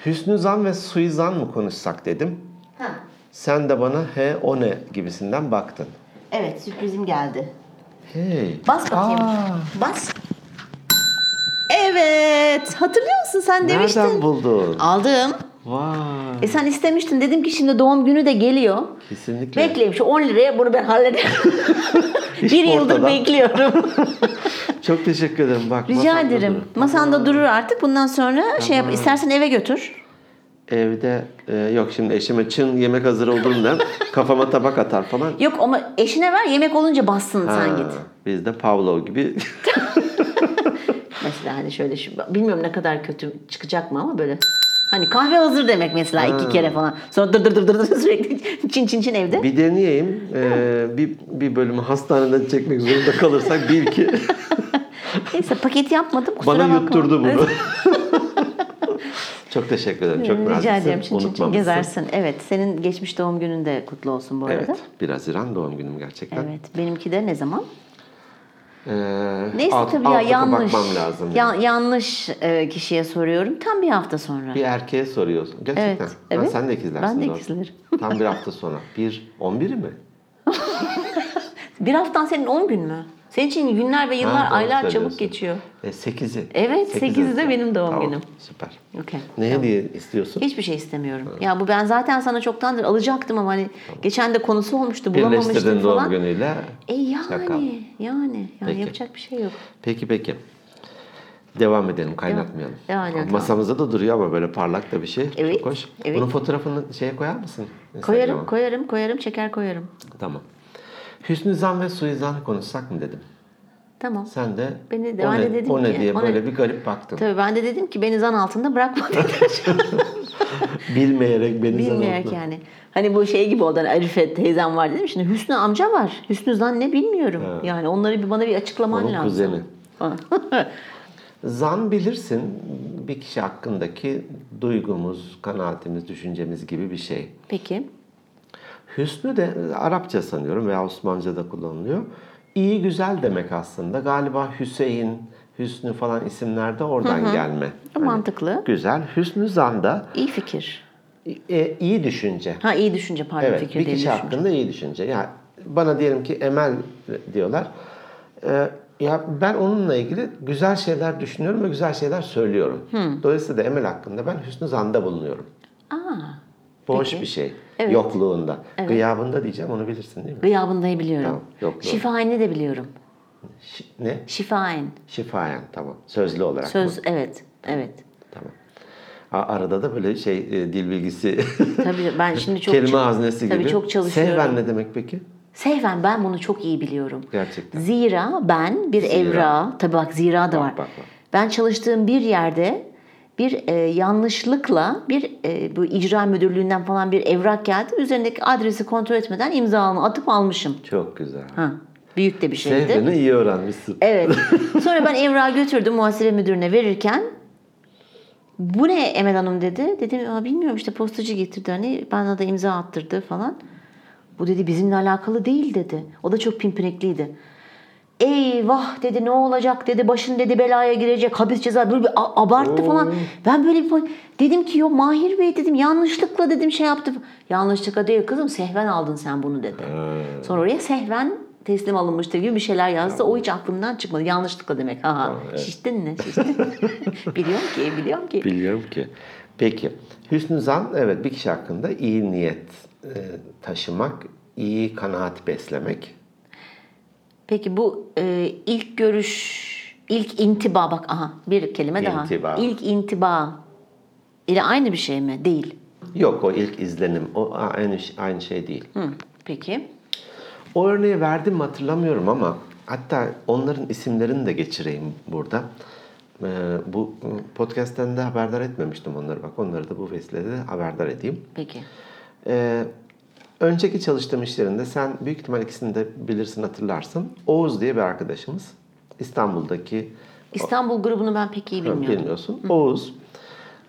Speaker 1: hüsnü zan ve suizan mı konuşsak dedim.
Speaker 2: Ha.
Speaker 1: Sen de bana he o ne gibisinden baktın.
Speaker 2: Evet sürprizim geldi.
Speaker 1: Hey.
Speaker 2: Bas bakayım.
Speaker 1: Aa.
Speaker 2: Bas. Evet. Hatırlıyor musun sen demiştin.
Speaker 1: Nereden buldun?
Speaker 2: Aldım.
Speaker 1: Vay.
Speaker 2: E sen istemiştin. Dedim ki şimdi doğum günü de geliyor.
Speaker 1: Kesinlikle.
Speaker 2: Bekleyeyim şu 10 liraya bunu ben hallederim. bir yıldır
Speaker 1: ortadan.
Speaker 2: bekliyorum.
Speaker 1: Çok teşekkür ederim. Bak,
Speaker 2: Rica
Speaker 1: masamda
Speaker 2: ederim.
Speaker 1: durur.
Speaker 2: Masanda durur artık. Bundan sonra şey yap. istersen eve götür.
Speaker 1: Evde e, yok şimdi eşime çın yemek hazır olduğunda kafama tabak atar falan.
Speaker 2: Yok ama eşine ver yemek olunca bassın sen git.
Speaker 1: Ha, Biz de Pavlov gibi
Speaker 2: Mesela hani şöyle şu bilmiyorum ne kadar kötü çıkacak mı ama böyle Hani kahve hazır demek mesela iki kere falan. Sonra dır dır dır dır dır sürekli çin çin çin evde.
Speaker 1: Bir deneyeyim. Ee, bir, bir bölümü hastaneden çekmek zorunda kalırsak bil ki
Speaker 2: Neyse paket yapmadım kusura
Speaker 1: bana
Speaker 2: bakma.
Speaker 1: yutturdu bunu. çok teşekkür ederim. Çok naziksin.
Speaker 2: Rica ederim. Çin çin çin
Speaker 1: unutmamışsın.
Speaker 2: gezersin. Evet senin geçmiş doğum günün de kutlu olsun bu arada.
Speaker 1: Evet. 1 Haziran doğum günüm gerçekten.
Speaker 2: Evet. Benimki de ne zaman?
Speaker 1: Ee,
Speaker 2: Neyse
Speaker 1: alt-
Speaker 2: tabii ya
Speaker 1: alta
Speaker 2: yanlış.
Speaker 1: bakmam lazım.
Speaker 2: Ya- yanlış e, kişiye soruyorum. Tam bir hafta sonra.
Speaker 1: Bir erkeğe soruyorsun. Gerçekten.
Speaker 2: Evet,
Speaker 1: Ha,
Speaker 2: evet.
Speaker 1: sen de ikizlersin.
Speaker 2: Ben de
Speaker 1: doğru.
Speaker 2: ikizlerim.
Speaker 1: Tam bir hafta sonra. Bir, on biri mi?
Speaker 2: Bir haftan senin 10 gün mü? Senin için günler ve yıllar,
Speaker 1: Ha, doğru
Speaker 2: aylar çabuk
Speaker 1: söylüyorsun.
Speaker 2: geçiyor.
Speaker 1: E, sekizi.
Speaker 2: Evet,
Speaker 1: Sekiz
Speaker 2: sekizi de
Speaker 1: Haziran.
Speaker 2: benim doğum
Speaker 1: Tamam,
Speaker 2: günüm.
Speaker 1: Süper.
Speaker 2: Okey.
Speaker 1: Ne hediye istiyorsun?
Speaker 2: Hiçbir şey istemiyorum. Ya bu ben zaten sana çoktandır alacaktım ama hani geçen de konusu olmuştu bulamamıştım
Speaker 1: Birleştirdin doğum
Speaker 2: falan.
Speaker 1: günüyle.
Speaker 2: E
Speaker 1: Şaka.
Speaker 2: yani yani yani
Speaker 1: Peki.
Speaker 2: yapacak bir şey yok.
Speaker 1: Peki peki. Devam edelim, kaynatmayalım.
Speaker 2: Devam edelim, tamam.
Speaker 1: Masamızda da duruyor ama böyle parlak da bir şey.
Speaker 2: Evet,
Speaker 1: Çok hoş.
Speaker 2: evet.
Speaker 1: Bunun fotoğrafını şeye koyar mısın? Instagram'a?
Speaker 2: Koyarım koyarım koyarım çeker koyarım.
Speaker 1: Tamam. Hüsnü Zan ve Suizan konuşsak mı dedim.
Speaker 2: Tamam.
Speaker 1: Sen de
Speaker 2: Beni de-
Speaker 1: o,
Speaker 2: ben
Speaker 1: ne,
Speaker 2: de dedim
Speaker 1: o ne
Speaker 2: ki,
Speaker 1: diye
Speaker 2: o ne-
Speaker 1: böyle bir garip baktın.
Speaker 2: Tabii ben de dedim ki beni zan altında bırakma dedim.
Speaker 1: Bilmeyerek beni zan
Speaker 2: Bilmeyerek
Speaker 1: altına-
Speaker 2: yani. Hani bu şey gibi oldu hani Arife teyzem var dedim. Şimdi Hüsnü amca var. Hüsnü zan ne bilmiyorum. Yani onları bir bana bir açıklaman
Speaker 1: Onun
Speaker 2: lazım.
Speaker 1: kuzeni.
Speaker 2: Ha.
Speaker 1: Zan bilirsin bir kişi hakkındaki duygumuz, kanaatimiz, düşüncemiz gibi bir şey.
Speaker 2: Peki.
Speaker 1: Hüsnü de Arapça sanıyorum veya Osmanca'da kullanılıyor. İyi güzel demek aslında. Galiba Hüseyin, Hüsnü falan isimler de oradan gelme.
Speaker 2: Mantıklı.
Speaker 1: Güzel. Hüsnü zan da
Speaker 2: İyi fikir.
Speaker 1: e, iyi düşünce.
Speaker 2: Ha iyi düşünce pardon
Speaker 1: Evet,
Speaker 2: fikir
Speaker 1: bir
Speaker 2: değil
Speaker 1: kişi
Speaker 2: düşünce.
Speaker 1: hakkında iyi düşünce. Yani bana diyelim ki Emel diyorlar. Ee, ya ben onunla ilgili güzel şeyler düşünüyorum ve güzel şeyler söylüyorum. Dolayısıyla da Emel hakkında ben hüsnü zanda bulunuyorum.
Speaker 2: Aa,
Speaker 1: Bu
Speaker 2: Peki.
Speaker 1: hoş bir şey.
Speaker 2: Evet.
Speaker 1: Yokluğunda. Gıyabında diyeceğim onu bilirsin değil mi?
Speaker 2: gıyabındayı biliyorum.
Speaker 1: Tamam, yok, doğru.
Speaker 2: Şifaen'i de biliyorum.
Speaker 1: Şi- ne?
Speaker 2: Şifaen.
Speaker 1: Şifayen tamam. Sözlü olarak.
Speaker 2: Söz evet. Evet.
Speaker 1: Tamam. A- Arada da böyle şey e, dil bilgisi
Speaker 2: Tabii ben şimdi çok
Speaker 1: kelime haznesi
Speaker 2: tabii
Speaker 1: gibi.
Speaker 2: çok çalışıyorum.
Speaker 1: Sevben ne demek peki?
Speaker 2: Sehven ben bunu çok iyi biliyorum.
Speaker 1: Gerçekten.
Speaker 2: Zira ben bir
Speaker 1: Zira.
Speaker 2: evra, tabii bak zira da var.
Speaker 1: Bak, bak, bak.
Speaker 2: Ben çalıştığım bir yerde bir e, yanlışlıkla bir e, bu icra müdürlüğünden falan bir evrak geldi. Üzerindeki adresi kontrol etmeden imzamı atıp almışım.
Speaker 1: Çok güzel.
Speaker 2: Ha, büyük de bir şeydi.
Speaker 1: Sevben'i iyi öğrenmişsin.
Speaker 2: Evet. Sonra ben evrağı götürdüm muhasebe müdürüne verirken bu ne Emel Hanım dedi. Dedim "Aa, bilmiyorum işte postacı getirdi hani bana da imza attırdı falan. Bu dedi bizimle alakalı değil dedi. O da çok pimpinekliydi. Eyvah dedi ne olacak dedi başın dedi belaya girecek hapis ceza böyle bir a- abarttı
Speaker 1: Oo.
Speaker 2: falan. Ben böyle bir dedim ki yo Mahir Bey dedim yanlışlıkla dedim şey yaptı. Yanlışlıkla değil kızım sehven aldın sen bunu dedi. Sonra oraya sehven teslim alınmıştır gibi bir şeyler yazdı. O hiç aklımdan çıkmadı. Yanlışlıkla demek. Ha, ha.
Speaker 1: evet.
Speaker 2: Şiştin mi? Şiştin. biliyorum ki, biliyorum ki.
Speaker 1: Biliyorum ki. Peki. Hüsnü zan evet bir kişi hakkında iyi niyet e, taşımak, iyi kanaat beslemek.
Speaker 2: Peki bu e, ilk görüş, ilk intiba bak aha bir kelime
Speaker 1: İntiba.
Speaker 2: daha. İlk intiba ile aynı bir şey mi? Değil.
Speaker 1: Yok o ilk izlenim. O a- aynı ş- aynı şey değil.
Speaker 2: Hı. Peki.
Speaker 1: O örneği verdim mi hatırlamıyorum ama hatta onların isimlerini de geçireyim burada. Ee, bu podcast'ten de haberdar etmemiştim onları bak. Onları da bu vesileyle de haberdar edeyim.
Speaker 2: Peki.
Speaker 1: Ee, önceki çalıştığım işlerinde sen büyük ihtimal ikisini de bilirsin hatırlarsın. Oğuz diye bir arkadaşımız. İstanbul'daki
Speaker 2: İstanbul grubunu ben pek iyi bilmiyorum.
Speaker 1: bilmiyorsun. Oğuz.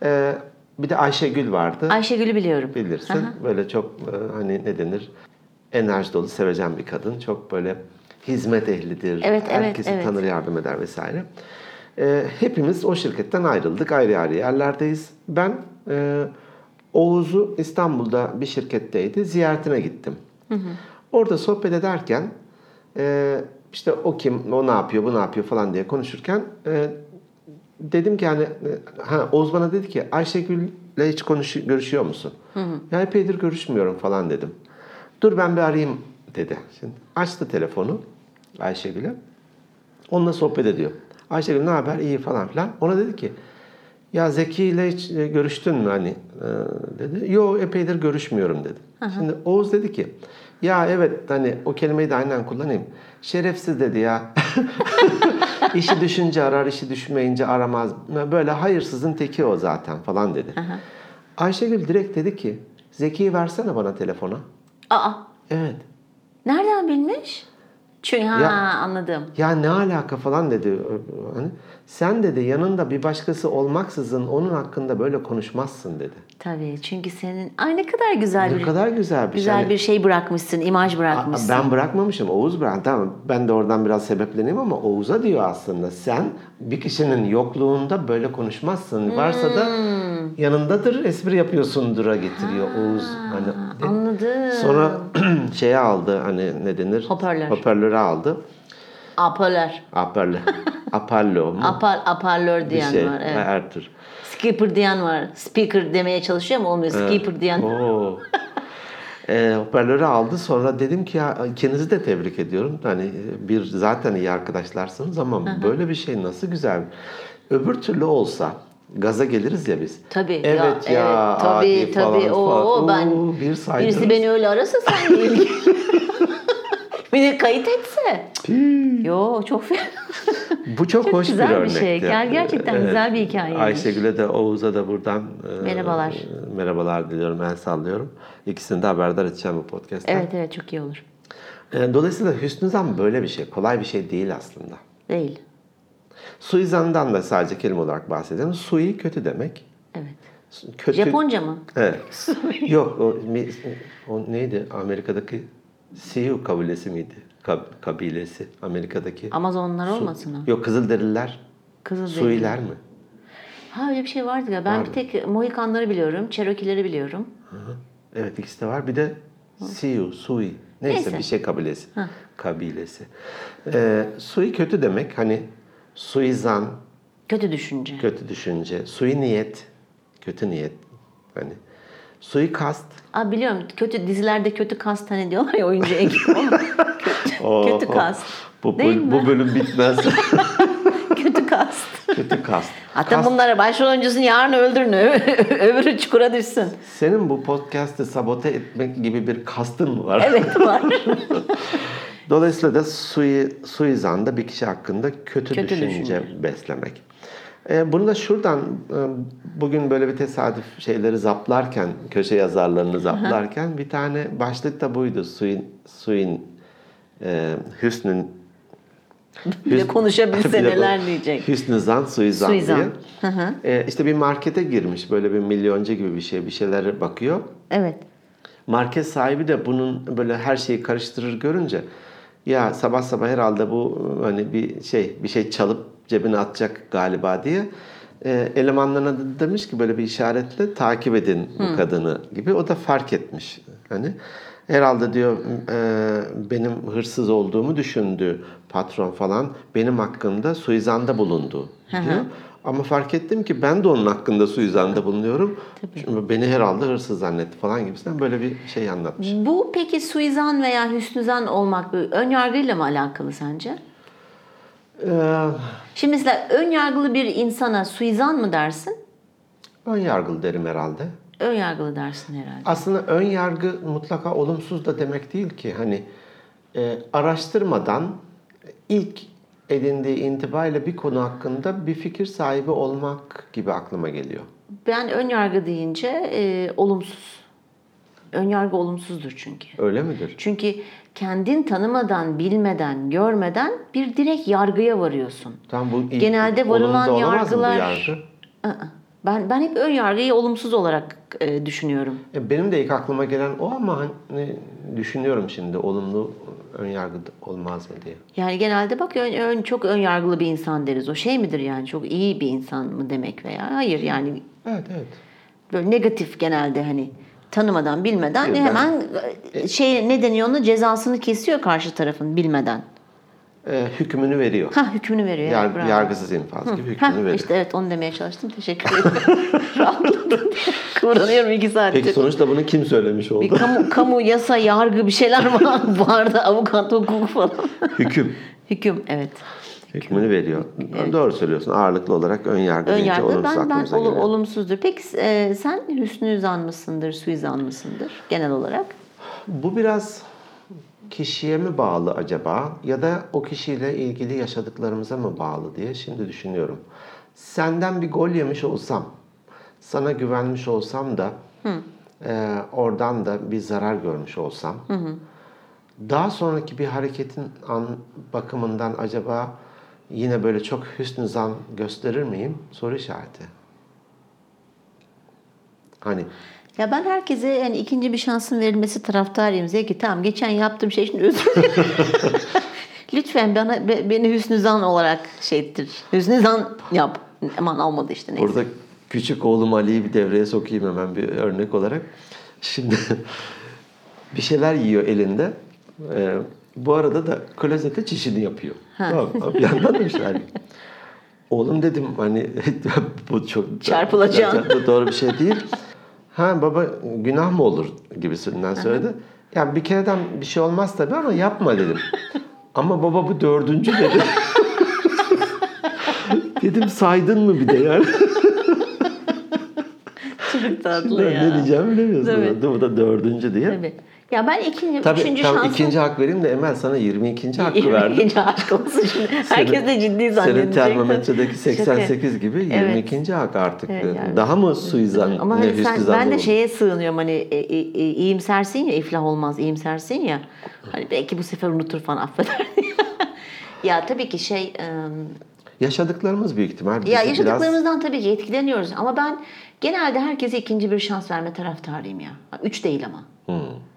Speaker 1: Ee, bir de Ayşegül vardı.
Speaker 2: Ayşegül'ü biliyorum.
Speaker 1: Bilirsin.
Speaker 2: Aha.
Speaker 1: Böyle çok e, hani ne denir? Enerji dolu, sevecen bir kadın. Çok böyle hizmet ehlidir.
Speaker 2: Evet, evet,
Speaker 1: Herkesi
Speaker 2: evet.
Speaker 1: tanır, yardım eder vesaire. Ee, hepimiz o şirketten ayrıldık. Ayrı ayrı yerlerdeyiz. Ben e, Oğuz'u İstanbul'da bir şirketteydi. Ziyaretine gittim. Orada sohbet ederken e, işte o kim, o ne yapıyor, bu ne yapıyor falan diye konuşurken e, dedim ki hani e, ha, Oğuz bana dedi ki Ayşegül'le hiç konuş, görüşüyor musun? Ya epeydir görüşmüyorum falan dedim. Dur ben bir arayayım dedi. Şimdi açtı telefonu Ayşegül'e. Onunla sohbet ediyor. Ayşegül ne haber iyi falan filan. Ona dedi ki ya Zeki ile hiç e, görüştün mü hani e, dedi. Yo epeydir görüşmüyorum dedi. Şimdi Oğuz dedi ki ya evet hani o kelimeyi de aynen kullanayım. Şerefsiz dedi ya. işi düşünce arar, işi düşünmeyince aramaz. Böyle hayırsızın teki o zaten falan dedi. Ayşegül direkt dedi ki Zeki'yi versene bana telefona.
Speaker 2: Aa
Speaker 1: Evet.
Speaker 2: nereden bilmiş? Çünkü ha
Speaker 1: Ya-
Speaker 2: anladım.
Speaker 1: Ya ne alaka falan dedi. Hani sen dedi yanında bir başkası olmaksızın onun hakkında böyle konuşmazsın dedi.
Speaker 2: Tabii çünkü senin ay ne kadar güzel
Speaker 1: Ne
Speaker 2: bir
Speaker 1: kadar güzel bir
Speaker 2: güzel
Speaker 1: şey.
Speaker 2: bir şey bırakmışsın, imaj
Speaker 1: Hani
Speaker 2: bırakmışsın.
Speaker 1: Ben bırakmamışım. Oğuz bırak. Tamam ben de oradan biraz sebepleneyim ama Oğuz'a diyor aslında. Sen bir kişinin yokluğunda böyle konuşmazsın. Varsa da
Speaker 2: Hmm.
Speaker 1: yanındadır espri yapıyorsundur'a getiriyor Oğuz. Hani
Speaker 2: Anladım.
Speaker 1: Sonra şeye aldı hani ne denir?
Speaker 2: Hoparlör.
Speaker 1: Hoparlörü aldı.
Speaker 2: Apalar.
Speaker 1: Hoparlör. Aparlo mu?
Speaker 2: Apar, aparlör
Speaker 1: Bir
Speaker 2: diyen
Speaker 1: şey.
Speaker 2: var. Evet.
Speaker 1: Her tür.
Speaker 2: Skipper diyen var. Speaker demeye çalışıyor ama olmuyor. Skipper diyen.
Speaker 1: Oo. Ee, hoparlörü aldı sonra dedim ki ya ikinizi de tebrik ediyorum. Hani bir zaten iyi arkadaşlarsınız ama böyle bir şey nasıl güzel. Öbür türlü olsa gaza geliriz ya biz.
Speaker 2: Tabii.
Speaker 1: Evet ya,
Speaker 2: evet,
Speaker 1: tabii,
Speaker 2: tabii
Speaker 1: falan,
Speaker 2: tabii.
Speaker 1: falan.
Speaker 2: Oo, ben
Speaker 1: Oo, bir saydınız.
Speaker 2: birisi beni öyle arasa sen değil. bir de kayıt etse. Yo çok fena.
Speaker 1: Bu çok,
Speaker 2: Çok
Speaker 1: hoş
Speaker 2: güzel
Speaker 1: bir
Speaker 2: bir
Speaker 1: örnekti.
Speaker 2: şey. Ger- gerçekten güzel bir hikayeymiş.
Speaker 1: Ayşegül'e de Oğuz'a da buradan e,
Speaker 2: Merhabalar.
Speaker 1: merhabalar diliyorum. El sallıyorum. İkisini de haberdar edeceğim bu podcast'ten.
Speaker 2: evet evet çok iyi olur.
Speaker 1: E, Dolayısıyla hüsnü zan böyle bir şey. Kolay bir şey değil aslında.
Speaker 2: Değil.
Speaker 1: Suizan'dan da sadece kelime olarak bahsedelim. Sui kötü demek.
Speaker 2: Evet.
Speaker 1: Kötü...
Speaker 2: Japonca mı?
Speaker 1: Evet. Yok o, mi- o neydi Amerika'daki Sioux kabilesi miydi? Kab- kabilesi Amerika'daki.
Speaker 2: Amazonlar olmasın o.
Speaker 1: Yok Kızılderililer.
Speaker 2: Kızılderili.
Speaker 1: Suiler mi?
Speaker 2: Ha öyle bir şey vardı ya. Ben bir tek Mohikanları biliyorum. Cherokee'leri biliyorum.
Speaker 1: Evet ikisi de var. Bir de Siu, Sui. Neyse,
Speaker 2: Neyse.
Speaker 1: bir şey kabilesi. Kabilesi. Ee, sui kötü demek. Hani suizan,
Speaker 2: Kötü düşünce.
Speaker 1: kötü düşünce. Sui niyet, kötü niyet. Hani suikast.
Speaker 2: Aa, biliyorum kötü dizilerde kötü kast hani diyorlar ya oyuncu ekibi.
Speaker 1: Oo,
Speaker 2: kötü kast.
Speaker 1: Bu,
Speaker 2: Değil
Speaker 1: böl-
Speaker 2: mi?
Speaker 1: bu bölüm bitmez.
Speaker 2: kötü kast.
Speaker 1: kötü kast.
Speaker 2: Hatta
Speaker 1: Kast-
Speaker 2: bunlara başrol oyuncusunu yarın öldürün. ö- Öbürü çukura düşsün.
Speaker 1: Senin bu podcast'ı sabote etmek gibi bir kastın mı var?
Speaker 2: Evet var.
Speaker 1: Dolayısıyla da sui, suizanda bir kişi hakkında kötü,
Speaker 2: Kötü
Speaker 1: düşünce,
Speaker 2: düşünce.
Speaker 1: beslemek. Ee, bunu da şuradan e, bugün böyle bir tesadüf şeyleri zaplarken, köşe yazarlarını zaplarken bir tane başlık da buydu. Suin, suin e, Hüsnün
Speaker 2: Bir de konuşabilse
Speaker 1: Bir de bu-
Speaker 2: neler diyecek.
Speaker 1: Hüsnü Zan, Suizan,
Speaker 2: Suizan.
Speaker 1: diye. Ee, işte bir markete girmiş böyle bir milyoncu gibi bir şey bir şeylere bakıyor.
Speaker 2: Evet.
Speaker 1: Market sahibi de bunun böyle her şeyi karıştırır görünce ya sabah sabah herhalde bu hani bir şey bir şey çalıp cebine atacak galiba diye e, elemanlarına da demiş ki böyle bir işaretle takip edin bu kadını gibi o da fark etmiş hani herhalde diyor e, benim hırsız olduğumu düşündü patron falan benim hakkımda suizanda bulundu diyor. Ama fark ettim ki ben de onun hakkında suizanda bulunuyorum. Çünkü beni herhalde hırsız zannetti falan gibisinden böyle bir şey anlatmış.
Speaker 2: Bu peki suizan veya hüsnüzan olmak bir ön yargıyla mı alakalı sence?
Speaker 1: Ee,
Speaker 2: Şimdi mesela ön yargılı bir insana suizan mı dersin?
Speaker 1: ön yargılı derim herhalde.
Speaker 2: Ön yargılı dersin herhalde.
Speaker 1: Aslında ön yargı mutlaka olumsuz da demek değil ki. Hani e, araştırmadan ilk edindiği intibayla bir konu hakkında bir fikir sahibi olmak gibi aklıma geliyor.
Speaker 2: Ben ön yargı deyince e, olumsuz. Ön yargı olumsuzdur çünkü.
Speaker 1: Öyle midir?
Speaker 2: Çünkü kendin tanımadan, bilmeden, görmeden bir direkt yargıya varıyorsun.
Speaker 1: Tam bu ilk-
Speaker 2: Genelde varılan
Speaker 1: olumlu olamaz mı bu
Speaker 2: yargılar
Speaker 1: yargı?
Speaker 2: Aa, Ben ben hep ön yargıyı olumsuz olarak e, düşünüyorum.
Speaker 1: E, Benim de ilk aklıma gelen o ama hani düşünüyorum şimdi olumlu ön yargı olmaz mı diye.
Speaker 2: Yani genelde bak ön, ön- çok ön yargılı bir insan deriz. O şey midir yani çok iyi bir insan mı demek veya hayır yani
Speaker 1: Evet evet.
Speaker 2: böyle negatif genelde hani tanımadan bilmeden
Speaker 1: Yok, ben-
Speaker 2: hemen e, şey ne deniyor ona cezasını kesiyor karşı tarafın bilmeden.
Speaker 1: E, hükmünü veriyor.
Speaker 2: Ha hükmünü veriyor. evet,
Speaker 1: Yar-
Speaker 2: bravo.
Speaker 1: yargısız infaz gibi hükmünü
Speaker 2: Heh,
Speaker 1: veriyor.
Speaker 2: işte evet onu demeye çalıştım. Teşekkür ederim. Rahatladım. Kıvranıyorum iki saattir.
Speaker 1: Peki sonuçta bunu kim söylemiş
Speaker 2: Bir
Speaker 1: oldu?
Speaker 2: E, kamu, kamu, yasa, yargı bir şeyler falan vardı. Avukat, hukuk falan.
Speaker 1: Hüküm.
Speaker 2: Hüküm evet.
Speaker 1: Hükmünü veriyor. Doğru söylüyorsun. Ağırlıklı olarak ön yargı
Speaker 2: Ön
Speaker 1: deyince
Speaker 2: yargı
Speaker 1: olumsuz
Speaker 2: ben, ben
Speaker 1: aklımıza
Speaker 2: olu-
Speaker 1: geliyor.
Speaker 2: olumsuzdur. Peki e, sen hüsnü zan mısındır, suizan mısındır genel olarak?
Speaker 1: Bu biraz kişiye mi bağlı acaba ya da o kişiyle ilgili yaşadıklarımıza mı bağlı diye şimdi düşünüyorum. Senden bir gol yemiş olsam, sana güvenmiş olsam da e, oradan da bir zarar görmüş olsam daha sonraki bir hareketin an bakımından acaba yine böyle çok hüsnü zan gösterir miyim? Soru işareti. Hani
Speaker 2: Ya ben herkese yani ikinci bir şansın verilmesi taraftarıyım Zeki. Tamam geçen yaptığım şey şimdi özür dilerim. Lütfen bana be- beni hüsnü zan olarak şey ettir. Hüsnü zan yap. Aman olmadı işte neyse.
Speaker 1: Burada küçük oğlum Ali'yi bir devreye sokayım hemen bir örnek olarak. Şimdi bir şeyler yiyor elinde. Ee, bu arada da klozete çişini yapıyor. Tamam, mı? bir yandan da bir şeyler yiyor. Oğlum dedim hani bu çok
Speaker 2: Çarpılacaksın.
Speaker 1: Bu doğru bir şey değil. Ha baba günah mı olur gibisinden söyledi. Yani bir kereden bir şey olmaz tabii ama yapma dedim. ama baba bu dördüncü dedi. dedim saydın mı bir de yani.
Speaker 2: Çok tatlı
Speaker 1: Ne,
Speaker 2: ya.
Speaker 1: ne diyeceğimi bilemiyorsun.
Speaker 2: Tabii.
Speaker 1: Bu da dördüncü diye.
Speaker 2: Tabii. Ya ben ikinci,
Speaker 1: Tabii
Speaker 2: üçüncü
Speaker 1: tam
Speaker 2: şansın...
Speaker 1: ikinci hak vereyim de Emel sana 22. hakkı verdim.
Speaker 2: İkinci aşk olsun şimdi. Herkes de ciddi
Speaker 1: Senin
Speaker 2: zannedecek.
Speaker 1: termometredeki 88 gibi
Speaker 2: Evet.
Speaker 1: 22. hak artık.
Speaker 2: Evet, yani.
Speaker 1: Daha mı suizan,
Speaker 2: Ama
Speaker 1: ne
Speaker 2: hani sen,
Speaker 1: hüsnü
Speaker 2: ben de
Speaker 1: olur?
Speaker 2: şeye sığınıyorum hani e, e, e, iyimsersin ya iflah olmaz iyimsersin ya. Hani belki bu sefer unutur falan affeder. ya tabii ki şey e,
Speaker 1: Yaşadıklarımız büyük ihtimal bizi
Speaker 2: Ya
Speaker 1: biraz...
Speaker 2: yaşadıklarımızdan tabii ki etkileniyoruz ama ben genelde herkese ikinci bir şans verme taraftarıyım ya. Ha, Üç değil ama.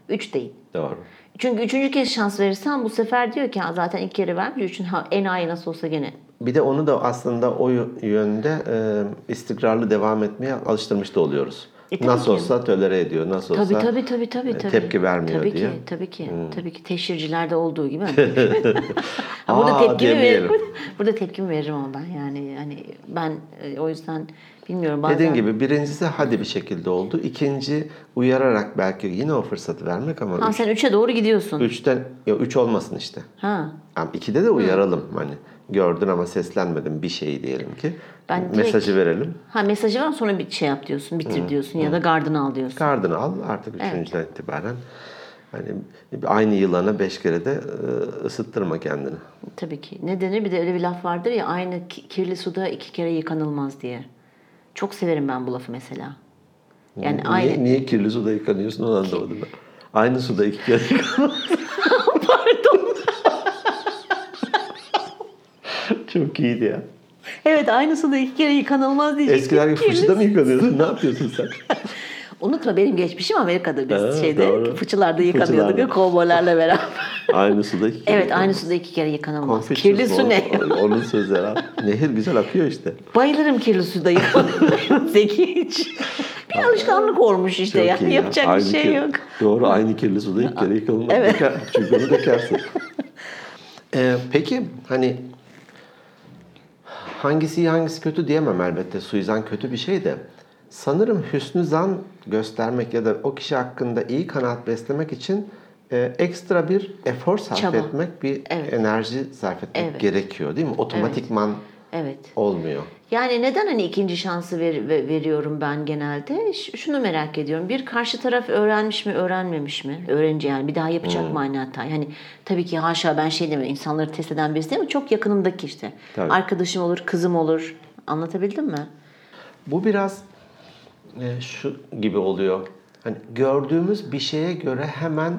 Speaker 2: Üç değil.
Speaker 1: Hmm, Doğru.
Speaker 2: Çünkü üçüncü kez şans verirsen bu sefer diyor ki "Ha, zaten iki kere vermiş. Üçün ha, enayi nasıl olsa gene.
Speaker 1: Bir de onu da aslında o yönde e, istikrarlı devam etmeye alıştırmış da oluyoruz.
Speaker 2: E, tabii
Speaker 1: nasıl
Speaker 2: ki.
Speaker 1: olsa tolere ediyor, nasıl
Speaker 2: Tabii
Speaker 1: olsa
Speaker 2: tabii tabii tabii. tabii.
Speaker 1: e, tepki vermiyor
Speaker 2: tabii
Speaker 1: diye. Hmm.
Speaker 2: Ki, tabii ki. Tabii ki. Teşhircilerde olduğu gibi. ha, burada
Speaker 1: Aa,
Speaker 2: tepkimi veririm.
Speaker 1: demeyelim.
Speaker 2: burada tepkimi veririm ama ben yani hani ben e, o yüzden bilmiyorum bazen.
Speaker 1: Dediğin gibi birincisi hadi bir şekilde oldu. İkinci uyararak belki yine o fırsatı vermek ama
Speaker 2: Ha, sen üçe doğru gidiyorsun.
Speaker 1: Üçten, ya üç olmasın işte.
Speaker 2: Ha.
Speaker 1: Yani ikide de uyaralım hani. Gördün ama seslenmedin bir şey diyelim ki.
Speaker 2: Ben direkt-
Speaker 1: Mesajı verelim.
Speaker 2: Ha mesajı var sonra bir şey yap diyorsun, bitir
Speaker 1: Hmm,
Speaker 2: diyorsun ya da gardını al diyorsun.
Speaker 1: Kardını al artık üçüncüden itibaren. Hani aynı yılana beş kere de e, ısıttırma kendini.
Speaker 2: Tabii ki. Ne denir? Bir de öyle bir laf vardır ya aynı ki- kirli suda iki kere yıkanılmaz diye. Çok severim ben bu lafı mesela. Yani
Speaker 1: niye,
Speaker 2: aynı
Speaker 1: niye kirli suda yıkanıyorsun onu anlamadım ben. Aynı suda iki kere
Speaker 2: pardon.
Speaker 1: Çok iyiydi ya.
Speaker 2: Evet aynı suda iki kere yıkanılmaz diyecek.
Speaker 1: Eskiden gibi
Speaker 2: Kirli
Speaker 1: fırçada mı yıkanıyorsun? Ne yapıyorsun sen?
Speaker 2: Unutma benim geçmişim Amerika'da biz
Speaker 1: Ha,
Speaker 2: şeyde
Speaker 1: doğru.
Speaker 2: fıçılarda yıkanıyorduk
Speaker 1: Fıçılarda.
Speaker 2: ya kovboylarla beraber.
Speaker 1: Aynı suda iki kere
Speaker 2: evet aynı
Speaker 1: yıkanıyorsun.
Speaker 2: suda iki kere yıkanılmaz.
Speaker 1: Konfüçyüs
Speaker 2: Kirli
Speaker 1: mu?
Speaker 2: su ne?
Speaker 1: O- Onun sözleri. ha. Nehir güzel akıyor işte.
Speaker 2: Bayılırım kirli suda yıkanılmaz. Zeki hiç. Bir alışkanlık olmuş işte
Speaker 1: Çok
Speaker 2: yani
Speaker 1: iyi ya.
Speaker 2: yapacak
Speaker 1: Aynı
Speaker 2: bir şey
Speaker 1: kir-
Speaker 2: yok.
Speaker 1: Doğru aynı kirli suda ilk kere yıkanılmaz.
Speaker 2: Evet.
Speaker 1: Döker, çünkü onu dökersin. Ee, peki hani hangisi iyi hangisi kötü diyemem elbette. Suizan kötü bir şey de. Sanırım hüsnü zan göstermek ya da o kişi hakkında iyi kanaat beslemek için e, ekstra bir efor sarf
Speaker 2: Çaba.
Speaker 1: etmek, bir
Speaker 2: Evet.
Speaker 1: enerji sarf etmek
Speaker 2: Evet.
Speaker 1: gerekiyor değil mi? Otomatikman
Speaker 2: Evet.
Speaker 1: olmuyor.
Speaker 2: Yani neden hani ikinci şansı ver- ve- veriyorum ben genelde? Ş- Şunu merak ediyorum. Bir karşı taraf öğrenmiş mi, öğrenmemiş mi? Öğrenci yani bir daha yapacak
Speaker 1: Hmm.
Speaker 2: mı aynı hatayı? Hani tabii ki haşa ben şey demiyorum. insanları test eden birisi değil mi? Çok yakınımdaki işte.
Speaker 1: Tabii.
Speaker 2: Arkadaşım olur, kızım olur. Anlatabildim mi?
Speaker 1: Bu biraz e, şu gibi oluyor. Hani gördüğümüz bir şeye göre hemen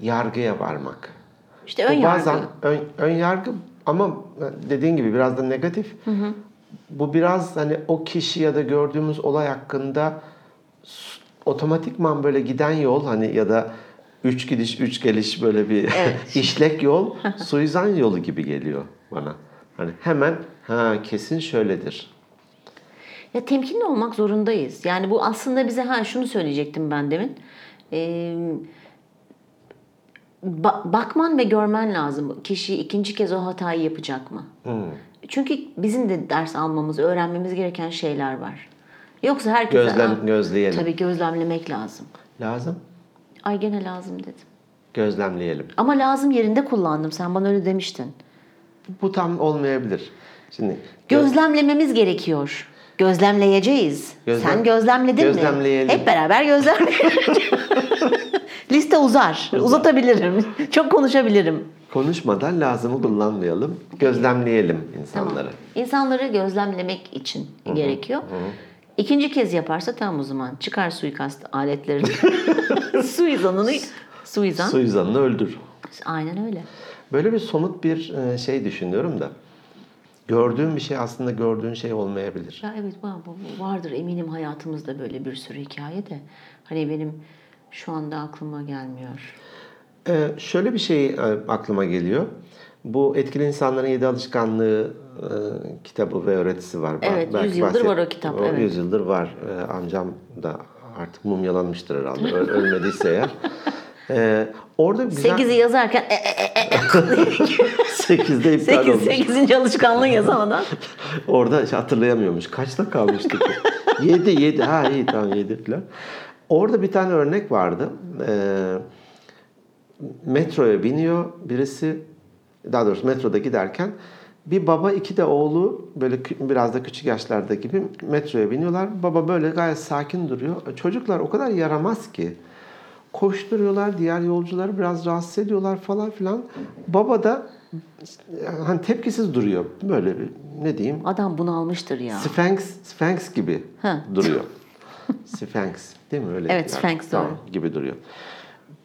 Speaker 1: yargıya varmak.
Speaker 2: İşte
Speaker 1: Bu
Speaker 2: ön yargı.
Speaker 1: Bazen ön, ön yargı ama dediğin gibi biraz da negatif. Bu biraz hani o kişi ya da gördüğümüz olay hakkında s- otomatikman böyle giden yol hani ya da üç gidiş üç geliş böyle bir işlek yol suizan yolu gibi geliyor bana. Hani hemen ha kesin şöyledir.
Speaker 2: Ya temkinli olmak zorundayız. Yani bu aslında bize ha şunu söyleyecektim ben demin. Ee, ba- bakman ve görmen lazım. Kişi ikinci kez o hatayı yapacak mı?
Speaker 1: Hmm.
Speaker 2: Çünkü bizim de ders almamız, öğrenmemiz gereken şeyler var. Yoksa herkese
Speaker 1: Gözlem
Speaker 2: "Aa,
Speaker 1: gözleyelim.
Speaker 2: tabii gözlemlemek lazım.
Speaker 1: Lazım.
Speaker 2: Ay gene lazım dedim.
Speaker 1: Gözlemleyelim.
Speaker 2: Ama lazım yerinde kullandım. Sen bana öyle demiştin.
Speaker 1: Bu tam olmayabilir. Şimdi
Speaker 2: Gözlemlememiz gerekiyor. Gözlemleyeceğiz.
Speaker 1: Gözlem-
Speaker 2: Sen gözlemledin mi?
Speaker 1: Gözlemleyelim.
Speaker 2: Hep beraber gözlemleyelim. Liste uzar. Uzatabilirim. Çok konuşabilirim.
Speaker 1: konuşmadan lazımı kullanmayalım. Gözlemleyelim insanları.
Speaker 2: İnsanları gözlemlemek için gerekiyor. İkinci kez yaparsa tam o zaman çıkar suikast aletlerini. Suizanını Suizan.
Speaker 1: Suizan'ını öldür.
Speaker 2: Aynen öyle.
Speaker 1: Böyle bir somut bir e, şey düşünüyorum da. Gördüğün bir şey aslında gördüğün şey olmayabilir.
Speaker 2: Ya evet var- bu- vardır eminim hayatımızda böyle bir sürü hikaye de. Hani benim şu anda aklıma gelmiyor.
Speaker 1: Ee, şöyle bir şey e, aklıma geliyor. Bu Etkili İnsanların Yedi Alışkanlığı e, kitabı ve öğretisi var. Ba-
Speaker 2: Evet,
Speaker 1: belki
Speaker 2: yüz yıldır
Speaker 1: bahset-
Speaker 2: var o kitap, evet.
Speaker 1: Yüz yıldır var. Ee, amcam da artık mumyalanmıştır herhalde. Ö- ölmediyse eğer. Ee, orada güzel...
Speaker 2: 8'i yazarken e, e, e, e,
Speaker 1: 8'de iptal
Speaker 2: sekiz-
Speaker 1: olmuş.
Speaker 2: sekizinci alışkanlığı yazamadan
Speaker 1: Orada hiç hatırlayamıyormuş. Kaçta kalmıştık? 7 7 ha iyi tamam 7 falan. Orada bir tane örnek vardı. Ee, metroya biniyor birisi daha doğrusu metroda giderken bir baba iki de oğlu böyle kü- biraz da küçük yaşlarda gibi metroya biniyorlar. Baba böyle gayet sakin duruyor. Çocuklar o kadar yaramaz ki. Koşturuyorlar, diğer yolcuları biraz rahatsız ediyorlar falan filan. Baba da hani tepkisiz duruyor. Böyle bir ne diyeyim
Speaker 2: adam bunalmıştır ya.
Speaker 1: Sphinx, Sphinx gibi
Speaker 2: Ha.
Speaker 1: duruyor. Sphinx değil mi öyle?
Speaker 2: Evet, Sphinx,
Speaker 1: Tamam, gibi duruyor.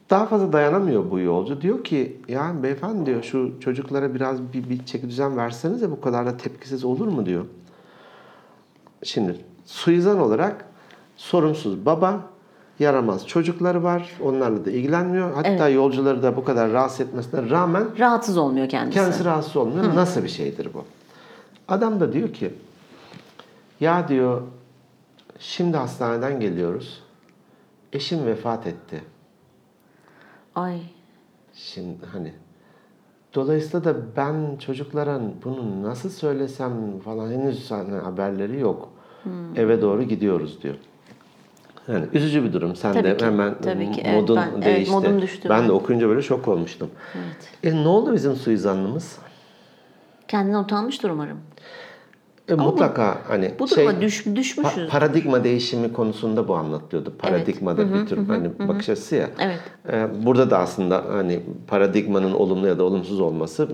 Speaker 1: Daha fazla dayanamıyor bu yolcu. Diyor ki yani beyefendi diyor şu çocuklara biraz bir, bir çeki düzen verseniz de bu kadar da tepkisiz olur mu diyor. Şimdi suizan olarak sorumsuz baba, yaramaz çocukları var. Onlarla da ilgilenmiyor. Hatta yolcuları da bu kadar rahatsız etmesine rağmen
Speaker 2: Rahatsız olmuyor kendisi.
Speaker 1: Kendisi rahatsız olmuyor. Nasıl bir şeydir bu? Adam da diyor ki ya diyor şimdi hastaneden geliyoruz. Eşim vefat etti.
Speaker 2: Ay
Speaker 1: Şimdi hani dolayısıyla da ben çocuklara bunu nasıl söylesem falan henüz hani haberleri yok. Eve doğru gidiyoruz diyor. Yani üzücü bir durum. Sen
Speaker 2: Tabii
Speaker 1: de
Speaker 2: ki,
Speaker 1: hemen
Speaker 2: tabii ki. Evet,
Speaker 1: modun
Speaker 2: ben- evet,
Speaker 1: değişti.
Speaker 2: modum düştü.
Speaker 1: Ben de okuyunca böyle şok olmuştum.
Speaker 2: evet.
Speaker 1: E ne oldu bizim suizanlımız?
Speaker 2: Kendine utanmıştır umarım.
Speaker 1: E, mutlaka hani
Speaker 2: Bu
Speaker 1: şey,
Speaker 2: duruma düş,
Speaker 1: Pa-
Speaker 2: düşmüşüz.
Speaker 1: paradigma değişimi konusunda bu anlatılıyordu. Paradigma da bir tür hani bakış açısı ya.
Speaker 2: Evet.
Speaker 1: Ee, Burada da aslında hani paradigmanın olumlu ya da olumsuz olması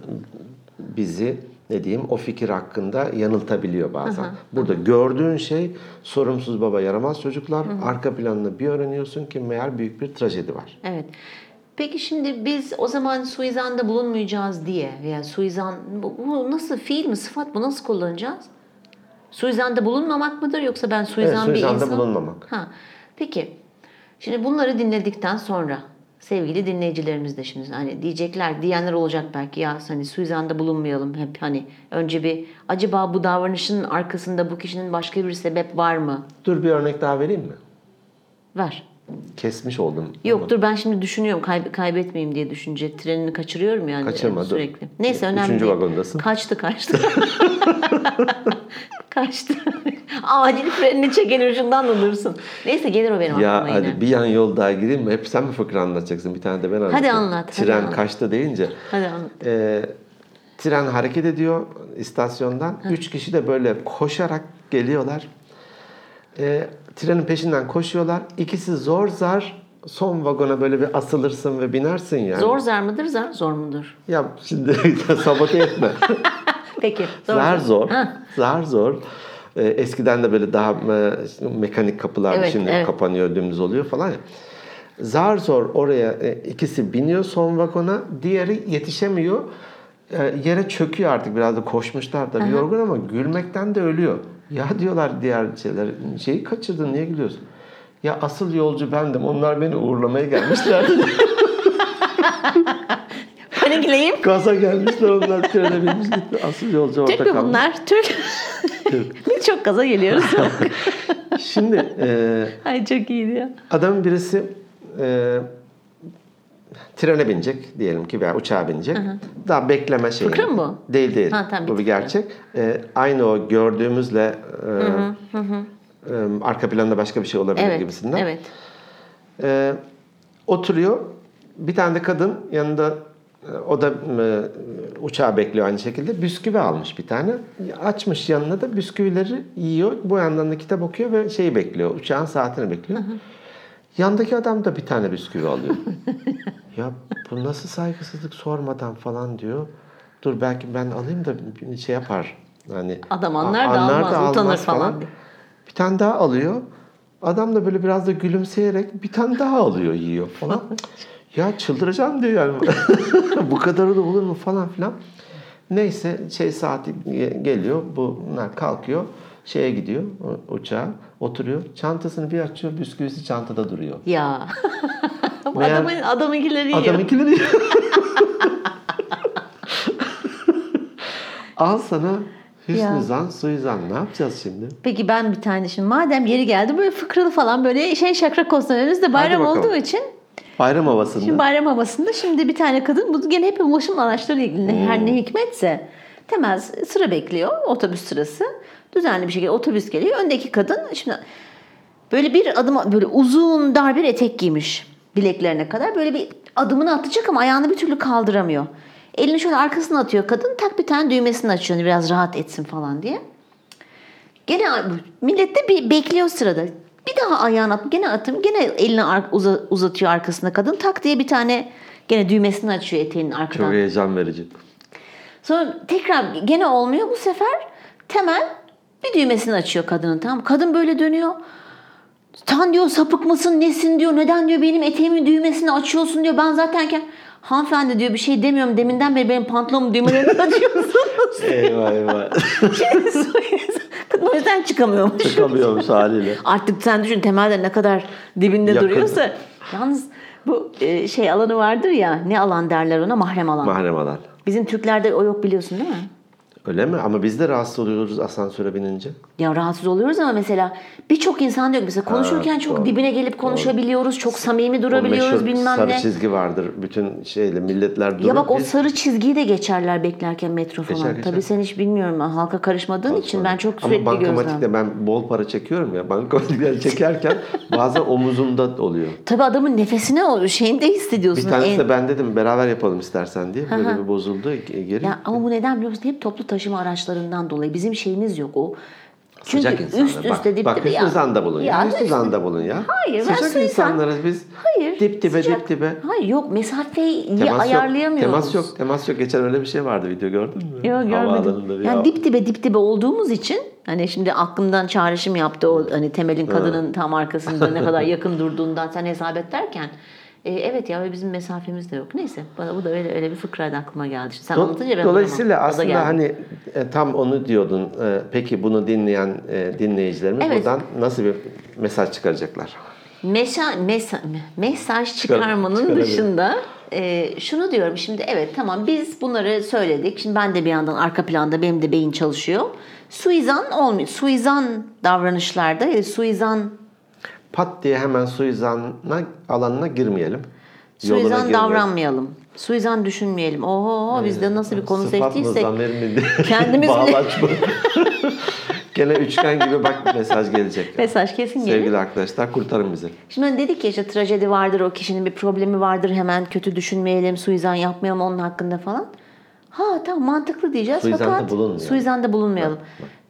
Speaker 1: bizi ne diyeyim o fikir hakkında yanıltabiliyor bazen. Burada gördüğün şey sorumsuz baba yaramaz çocuklar arka planını bir öğreniyorsun ki meğer büyük bir trajedi var.
Speaker 2: Evet. Peki şimdi biz o zaman suizanda bulunmayacağız diye yani suizan bu, bu nasıl fiil mi sıfat bu nasıl kullanacağız? Suizanda bulunmamak mıdır yoksa ben
Speaker 1: Evet,
Speaker 2: suizan bir
Speaker 1: suizanda
Speaker 2: insan?
Speaker 1: bulunmamak.
Speaker 2: Ha. Peki. Şimdi bunları dinledikten sonra sevgili dinleyicilerimiz de şimdi hani diyecekler diyenler olacak belki ya hani suizanda bulunmayalım hep hani önce bir acaba bu davranışın arkasında bu kişinin başka bir sebep var mı?
Speaker 1: Dur bir örnek daha vereyim mi?
Speaker 2: Var.
Speaker 1: Kesmiş oldum.
Speaker 2: Yok dur ben şimdi düşünüyorum Kayb- kaybetmeyeyim diye düşünce trenini kaçırıyorum yani
Speaker 1: Kaçırma,
Speaker 2: e,
Speaker 1: dur.
Speaker 2: sürekli. Neyse önemli
Speaker 1: Üçüncü
Speaker 2: değil.
Speaker 1: vagondasın.
Speaker 2: Kaçtı kaçtı. kaçtı. Acil frenini çekelim şundan da dursun. Neyse gelir o benim
Speaker 1: Ya
Speaker 2: aklıma yine.
Speaker 1: hadi bir yan yol daha gireyim mi? Hep sen mi fıkra anlatacaksın? Bir tane de ben anlatayım.
Speaker 2: anlat, hadi
Speaker 1: Tren
Speaker 2: anlat.
Speaker 1: kaçtı deyince.
Speaker 2: Hadi anlat.
Speaker 1: Ee, tren hareket ediyor istasyondan. Üç kişi de böyle koşarak geliyorlar. Ee, trenin peşinden koşuyorlar. İkisi zor zar son vagona böyle bir asılırsın ve binersin yani.
Speaker 2: Zor zar mıdır zar zor mudur?
Speaker 1: Ya şimdi sabote etme.
Speaker 2: Peki. Zor
Speaker 1: Zar zor.
Speaker 2: Ha,
Speaker 1: Zar zor. Ee, eskiden de böyle daha e, mekanik kapılar
Speaker 2: Evet,
Speaker 1: şimdi
Speaker 2: evet.
Speaker 1: kapanıyor, dümdüz oluyor falan ya. Zar zor oraya e, ikisi biniyor son vagona, diğeri yetişemiyor. E, yere çöküyor artık biraz da koşmuşlar da yorgun ama gülmekten de ölüyor. Ya diyorlar diğer şeyler şeyi kaçırdın niye gülüyorsun? Ya asıl yolcu bendim. Onlar beni uğurlamaya gelmişlerdi.
Speaker 2: Panikleyip.
Speaker 1: Gaza gelmişler onlar trene binmiş gitti. Asıl yolcu orada
Speaker 2: Türk mü
Speaker 1: kalmış.
Speaker 2: bunlar? Türk. Biz çok gaza geliyoruz.
Speaker 1: Şimdi e,
Speaker 2: Ay çok iyiydi ya.
Speaker 1: Adamın birisi e, trene binecek diyelim ki veya uçağa binecek. Daha bekleme şeyi.
Speaker 2: Fıkra mı bu?
Speaker 1: Değil değil.
Speaker 2: Ha, tamam,
Speaker 1: bu bir
Speaker 2: bitti.
Speaker 1: gerçek. E, aynı o gördüğümüzle e, e, arka planda başka bir şey olabilir
Speaker 2: Evet.
Speaker 1: gibisinden.
Speaker 2: Evet.
Speaker 1: E, oturuyor. Bir tane de kadın yanında e, o da e, uçağı bekliyor aynı şekilde. Bisküvi almış bir tane. Açmış yanına da bisküvileri yiyor. Bu yandan da kitap okuyor ve şeyi bekliyor. Uçağın saatini bekliyor. Yandaki adam da bir tane bisküvi alıyor. ya bu nasıl saygısızlık sormadan falan diyor. Dur belki ben alayım da bir şey yapar. Hani
Speaker 2: Adam anlar da almaz, utanır falan diye.
Speaker 1: Bir tane daha alıyor. Adam da böyle biraz da gülümseyerek bir tane daha alıyor yiyor falan. ya çıldıracağım diyor yani. Bu kadarı da olur mu falan filan. Neyse şey saati ge- geliyor. Bunlar kalkıyor. Şeye gidiyor u- uçağa. Oturuyor. Çantasını bir açıyor. Bisküvisi çantada duruyor.
Speaker 2: Ya. Bu
Speaker 1: Meğer-
Speaker 2: adamın adamınkileri yiyor.
Speaker 1: Adam ikileri yiyor. Al sana
Speaker 2: Ya.
Speaker 1: Hüsnü Zan, Suizan. Ne yapacağız şimdi?
Speaker 2: Peki ben bir tane şimdi madem yeri geldi böyle fıkralı falan böyle şey şakrak olsun önümüzde bayram
Speaker 1: bakalım.
Speaker 2: olduğu için
Speaker 1: Bayram havasında.
Speaker 2: Şimdi bayram havasında şimdi bir tane kadın bu gene hep ulaşım araçları ilgili her ne hikmetse temel sıra bekliyor otobüs sırası. Düzenli bir şekilde otobüs geliyor. Öndeki kadın şimdi böyle bir adım böyle uzun dar bir etek giymiş bileklerine kadar böyle bir adımını atacak ama ayağını bir türlü kaldıramıyor. Elini şöyle arkasına atıyor kadın tak bir tane düğmesini açıyor hani biraz rahat etsin falan diye. Gene millet de bir bekliyor sırada. Bir daha ayağını at, gene atım, gene elini ar- uza- uzatıyor arkasına kadın. Tak diye bir tane gene düğmesini açıyor eteğinin
Speaker 1: Çok
Speaker 2: arkadan.
Speaker 1: heyecan verici.
Speaker 2: Sonra tekrar gene olmuyor. Bu sefer Temel bir düğmesini açıyor kadının tamam. Kadın böyle dönüyor. Tan diyor sapık mısın nesin diyor. Neden diyor benim eteğimin düğmesini açıyorsun diyor. Ben zatenken hanımefendi diyor bir şey demiyorum. Deminden beri benim pantolonum düğmelerini açıyorsunuz.
Speaker 1: Eyvah eyvah.
Speaker 2: Kadın o yüzden çıkamıyormuş.
Speaker 1: Çıkamıyormuş haliyle.
Speaker 2: Artık sen düşün temelde ne kadar dibinde
Speaker 1: Yakın.
Speaker 2: duruyorsa. Yalnız bu e, şey alanı vardır ya ne alan derler ona mahrem alan.
Speaker 1: Mahrem alan.
Speaker 2: Bizim Türklerde o yok biliyorsun değil mi?
Speaker 1: Öyle mi? Ama biz de rahatsız oluyoruz asansöre binince.
Speaker 2: Ya rahatsız oluyoruz ama mesela birçok insan diyor ki mesela konuşurken çok
Speaker 1: doğru,
Speaker 2: dibine gelip konuşabiliyoruz. Çok samimi
Speaker 1: O meşhur
Speaker 2: durabiliyoruz bilmem
Speaker 1: sarı
Speaker 2: ne.
Speaker 1: çizgi vardır. Bütün şeyle milletler durur.
Speaker 2: Ya bak o
Speaker 1: biz-
Speaker 2: sarı çizgiyi de geçerler beklerken metro falan.
Speaker 1: Geçer, geçer.
Speaker 2: Tabii sen hiç bilmiyorum ha, halka karışmadığın için ben çok
Speaker 1: Ama
Speaker 2: sürekli gözlem.
Speaker 1: bankamatikte ben bol para çekiyorum ya. Bankamatikten çekerken bazen omuzumda oluyor.
Speaker 2: Tabii adamın nefesine o şeyini de hissediyorsun.
Speaker 1: Bir tanesi
Speaker 2: En-
Speaker 1: de ben dedim beraber yapalım istersen diye. Böyle bir bozuldu. e, Geri.
Speaker 2: Ya ama bu neden biliyor musun? Hep toplu taşıma araçlarından dolayı. Bizim şeyimiz yok o. Çünkü
Speaker 1: Sıcak insanlar.
Speaker 2: üst
Speaker 1: bak,
Speaker 2: üste dip
Speaker 1: bak,
Speaker 2: dibe
Speaker 1: üst
Speaker 2: ya.
Speaker 1: zanda bulun ya. Üst
Speaker 2: üst-
Speaker 1: zanda bulun ya.
Speaker 2: Hayır, ben
Speaker 1: Sıcak
Speaker 2: su insan-
Speaker 1: insanlarız biz.
Speaker 2: Hayır.
Speaker 1: Dip dibe
Speaker 2: sıcak-
Speaker 1: dip dibe.
Speaker 2: Hayır yok mesafeyi
Speaker 1: Temas yok.
Speaker 2: ayarlayamıyoruz.
Speaker 1: Temas yok. Temas yok. Geçen öyle bir şey vardı video gördün mü?
Speaker 2: Yok
Speaker 1: Havaalanında
Speaker 2: görmedim.
Speaker 1: bir
Speaker 2: Yani
Speaker 1: hava-
Speaker 2: dip dibe dip dibe olduğumuz için hani şimdi aklımdan çağrışım yaptı o hani Temel'in kadının tam arkasında ne kadar yakın durduğundan sen hesap et derken. e, evet ya ve bizim mesafemiz de yok. Neyse bana bu da öyle, öyle bir fıkraydı aklıma geldi. Şimdi sen
Speaker 1: Do-
Speaker 2: anlatınca ben
Speaker 1: Dolayısıyla
Speaker 2: anlamam. O da geldi.
Speaker 1: aslında hani e, tam onu diyordun. E, peki bunu dinleyen e, dinleyicilerimiz
Speaker 2: Evet.
Speaker 1: buradan nasıl bir mesaj çıkaracaklar?
Speaker 2: Meşa, mesa- mesaj çıkarmanın
Speaker 1: çıkaramıyorum.
Speaker 2: dışında e, şunu diyorum şimdi evet tamam biz bunları söyledik. Şimdi ben de bir yandan arka planda benim de beyin çalışıyor. Suizan olmuyor. Suizan davranışlarda e, suizan
Speaker 1: Pat diye hemen suizanına alanına girmeyelim. Yoluna
Speaker 2: suizan
Speaker 1: girmeyelim.
Speaker 2: davranmayalım. Suizan düşünmeyelim. Oho biz de nasıl bir konu
Speaker 1: Sıfat mı,
Speaker 2: seçtiysek
Speaker 1: zamer mi?
Speaker 2: kendimiz bile-
Speaker 1: Bağlaç mı? Gene üçgen gibi bak mesaj gelecek.
Speaker 2: mesaj kesin gelir.
Speaker 1: Sevgili arkadaşlar kurtarın bizi.
Speaker 2: Şimdi hani dedik ya işte trajedi vardır o kişinin bir problemi vardır hemen kötü düşünmeyelim suizan yapmayalım onun hakkında falan. Ha tamam mantıklı diyeceğiz
Speaker 1: Suizanda
Speaker 2: fakat
Speaker 1: bulunmayalım.
Speaker 2: suizanda bulunmayalım.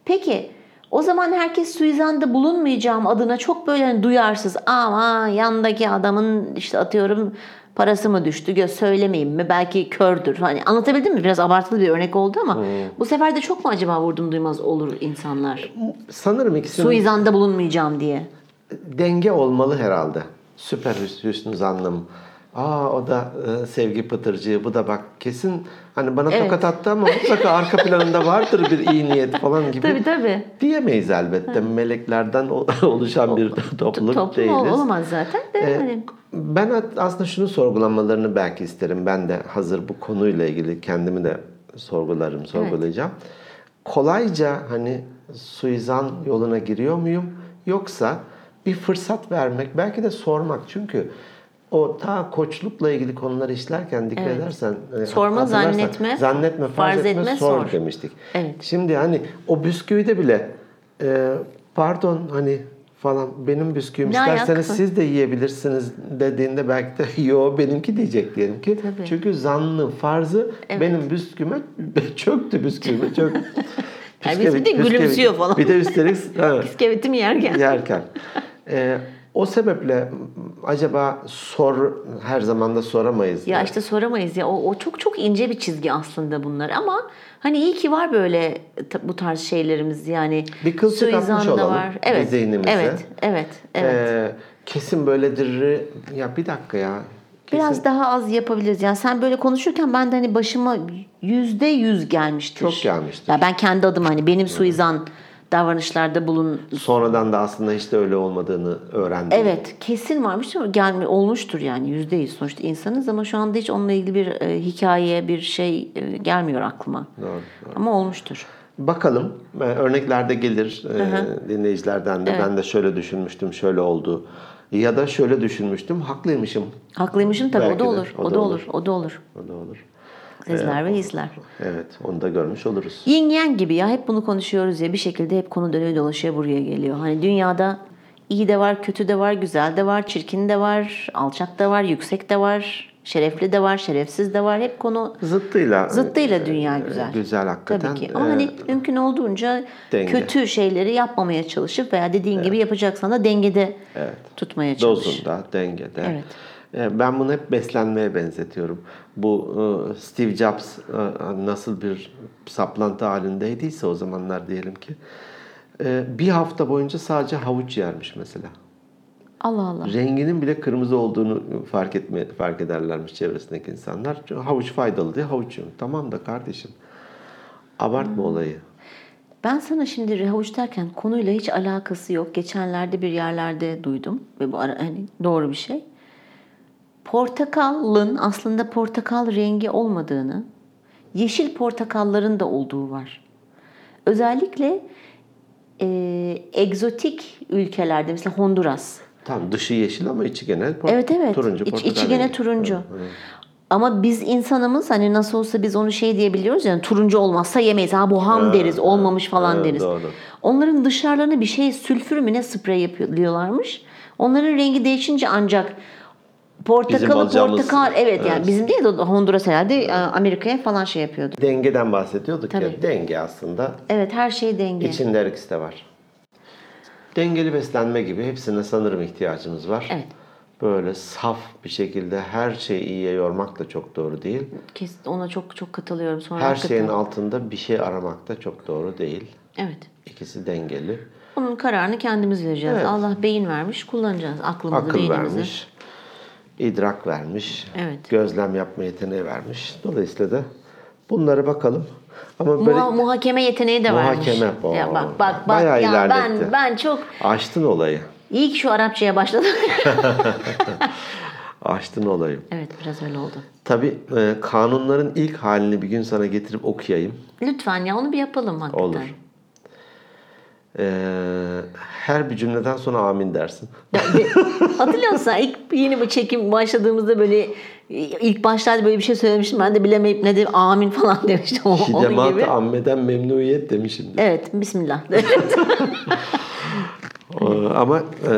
Speaker 2: Peki o zaman herkes suizanda bulunmayacağım adına çok böyle hani duyarsız ama yandaki adamın işte atıyorum parası mı düştü gö söylemeyeyim mi belki kördür hani anlatabildim mi biraz abartılı bir örnek oldu ama
Speaker 1: Hmm.
Speaker 2: bu sefer de çok mu acaba vurdum duymaz olur insanlar
Speaker 1: Sanırım ikisinin
Speaker 2: suizanda bulunmayacağım diye.
Speaker 1: denge olmalı herhalde. Süper Hüs- Hüsnü Zannım. Aa o da e, sevgi pıtırcığı. Bu da bak kesin hani bana
Speaker 2: Evet.
Speaker 1: tokat attı ama mutlaka arka planında vardır bir iyi niyet falan gibi.
Speaker 2: Tabii tabii.
Speaker 1: Diyemeyiz elbette. Meleklerden o- oluşan bir topluluk
Speaker 2: Toplum
Speaker 1: değiliz.
Speaker 2: ol- olamaz zaten de
Speaker 1: Ee,
Speaker 2: hani
Speaker 1: Ben at- aslında şunu sorgulanmalarını belki isterim. Ben de hazır bu konuyla ilgili kendimi de sorgularım, sorgulayacağım. Kolayca hani suizan yoluna giriyor muyum? Yoksa bir fırsat vermek, belki de sormak. Çünkü o ta koçlukla ilgili konuları işlerken dikkat edersen e,
Speaker 2: Sorma,
Speaker 1: hatırlarsan,
Speaker 2: zannetme,
Speaker 1: zannetme, farz,
Speaker 2: farz
Speaker 1: etme,
Speaker 2: etme,
Speaker 1: sor,
Speaker 2: sor.
Speaker 1: demiştik.
Speaker 2: Evet.
Speaker 1: Şimdi hani o bisküvide bile e, pardon hani falan benim bisküvim
Speaker 2: Ne
Speaker 1: İsterseniz
Speaker 2: alakası?
Speaker 1: siz de yiyebilirsiniz dediğinde belki de yo benimki diyecek diyelim ki.
Speaker 2: Tabii.
Speaker 1: Çünkü zannı farzı benim bisküme çöktü bisküme çök.
Speaker 2: Yani biz bir de
Speaker 1: Bisküvi-
Speaker 2: gülümsüyor falan.
Speaker 1: Ee, Bir de üstelik evet,
Speaker 2: piskevitimi yerken.
Speaker 1: yerken. Ee, o O sebeple acaba sor her zaman da soramayız.
Speaker 2: Ya işte soramayız ya. O, o çok çok ince bir çizgi aslında bunlar ama hani iyi ki var böyle ta- bu tarz şeylerimiz yani.
Speaker 1: Bir kılçık atmış
Speaker 2: Suizan da
Speaker 1: olalım
Speaker 2: Evet.
Speaker 1: bir zihnimize.
Speaker 2: Evet. Evet. Evet.
Speaker 1: Ee, kesin böyledir. Ya bir dakika ya. Kesin-
Speaker 2: Biraz daha az yapabiliriz. Yani sen böyle konuşurken ben de hani başıma yüzde yüz gelmiştir.
Speaker 1: Çok gelmiştir.
Speaker 2: Ya ben kendi adım hani benim suizan davranışlarda bulun.
Speaker 1: Sonradan da aslında hiç de öyle olmadığını öğrendim.
Speaker 2: Evet kesin varmış ama gelme olmuştur yani yüzde yüz sonuçta insanız ama şu anda hiç onunla ilgili bir e, hikaye bir şey e, gelmiyor aklıma.
Speaker 1: Doğru.
Speaker 2: Ama olmuştur.
Speaker 1: Bakalım Ee, örneklerde gelir ee, dinleyicilerden de. Ben de şöyle düşünmüştüm, şöyle oldu. Ya da şöyle düşünmüştüm, haklıymışım.
Speaker 2: Haklıymışım tabii o
Speaker 1: Belki
Speaker 2: da
Speaker 1: de,
Speaker 2: olur. O, da olur. O da olur.
Speaker 1: O da olur.
Speaker 2: Sezler ve izler.
Speaker 1: Evet, onu da görmüş oluruz.
Speaker 2: Yin yang gibi ya hep bunu konuşuyoruz ya bir şekilde hep konu dönüyor dolaşıyor buraya geliyor. Hani dünyada iyi de var, kötü de var, güzel de var, çirkin de var, alçak da var, yüksek de var, şerefli de var, şerefsiz de var. Hep konu
Speaker 1: Zıttıyla.
Speaker 2: zıttıyla
Speaker 1: e,
Speaker 2: dünya
Speaker 1: e,
Speaker 2: güzel.
Speaker 1: Güzel hakikaten.
Speaker 2: Tabii ki. Ama
Speaker 1: Ee,
Speaker 2: hani mümkün olduğunca
Speaker 1: denge.
Speaker 2: kötü şeyleri yapmamaya çalışıp veya dediğin gibi yapacaksan da dengede tutmaya çalış.
Speaker 1: Dozunda, dengede.
Speaker 2: Evet.
Speaker 1: Ee, Ben bunu hep beslenmeye benzetiyorum. Bu e, Steve Jobs e, nasıl bir saplantı halindeyse o zamanlar diyelim ki. e, Bir hafta boyunca sadece havuç yermiş mesela.
Speaker 2: Allah Allah.
Speaker 1: Renginin bile kırmızı olduğunu fark etme fark ederlermiş çevresindeki insanlar. Çünkü Havuç faydalı diye havuç yiyorum. Tamam da kardeşim. Abartma
Speaker 2: Hmm.
Speaker 1: olayı.
Speaker 2: Ben sana şimdi rehavuç derken konuyla hiç alakası yok. Geçenlerde bir yerlerde duydum ve bu ara, hani doğru bir şey. Portakalın aslında portakal rengi olmadığını, yeşil portakalların da olduğu var. Özellikle e, egzotik ülkelerde mesela Honduras.
Speaker 1: Tamam dışı yeşil ama içi gene por-
Speaker 2: Evet evet.
Speaker 1: turuncu.
Speaker 2: İç,
Speaker 1: portakal
Speaker 2: içi gene
Speaker 1: rengi.
Speaker 2: turuncu. Ama biz insanımız hani nasıl olsa biz onu şey diyebiliyoruz yani turuncu olmazsa yemeyiz. Ha bu ham deriz olmamış falan
Speaker 1: ha,
Speaker 2: deriz.
Speaker 1: doğru.
Speaker 2: Onların dışarılarına bir şey sülfür mü ne sprey yapıyorlarmış. Onların rengi değişince ancak portakalı
Speaker 1: alacağımız-
Speaker 2: portakal evet, yani bizim değil de Honduras herhalde e, Amerika'ya falan şey yapıyordu.
Speaker 1: Dengeden bahsediyorduk ya.
Speaker 2: Tabii.
Speaker 1: Denge aslında.
Speaker 2: Evet her şey denge.
Speaker 1: İçinde her ikisi de var. Dengeli beslenme gibi hepsine sanırım ihtiyacımız var.
Speaker 2: Evet.
Speaker 1: Böyle saf bir şekilde her şeyi iyiye yormak da çok doğru değil.
Speaker 2: Kes- ona çok çok katılıyorum sonra.
Speaker 1: Her
Speaker 2: hakikaten.
Speaker 1: şeyin altında bir şey aramak da çok doğru değil.
Speaker 2: Evet.
Speaker 1: İkisi dengeli.
Speaker 2: Onun kararını kendimiz vereceğiz.
Speaker 1: Evet.
Speaker 2: Allah beyin vermiş, kullanacağız aklımızı,
Speaker 1: Akıl
Speaker 2: beynimizi.
Speaker 1: vermiş, idrak vermiş,
Speaker 2: Evet.
Speaker 1: gözlem yapma yeteneği vermiş. Dolayısıyla da bunlara bakalım. Ama böyle
Speaker 2: Muha- muhakeme yeteneği de varmış.
Speaker 1: Muhakeme, oo.
Speaker 2: Ya bak bak bak
Speaker 1: Bayağı
Speaker 2: ya
Speaker 1: ilerletti.
Speaker 2: ben ben çok
Speaker 1: açtın olayı.
Speaker 2: iyi ki şu Arapçaya başladım.
Speaker 1: Açtın olayı.
Speaker 2: evet biraz öyle oldu.
Speaker 1: Tabii e, kanunların ilk halini bir gün sana getirip okuyayım.
Speaker 2: Lütfen ya onu bir yapalım hakikaten.
Speaker 1: Olur. Ee, her bir cümleden sonra amin dersin.
Speaker 2: Ya bir- Hatırlıyor musun? İlk yeni bu çekim başladığımızda böyle ilk başlarda böyle bir şey söylemiştim. Ben de bilemeyip ne dedim amin falan demiştim. O- Onun gibi.
Speaker 1: Hidemat-ı ammeden memnuniyet demişim.
Speaker 2: Evet bismillah.
Speaker 1: Ee, ama e,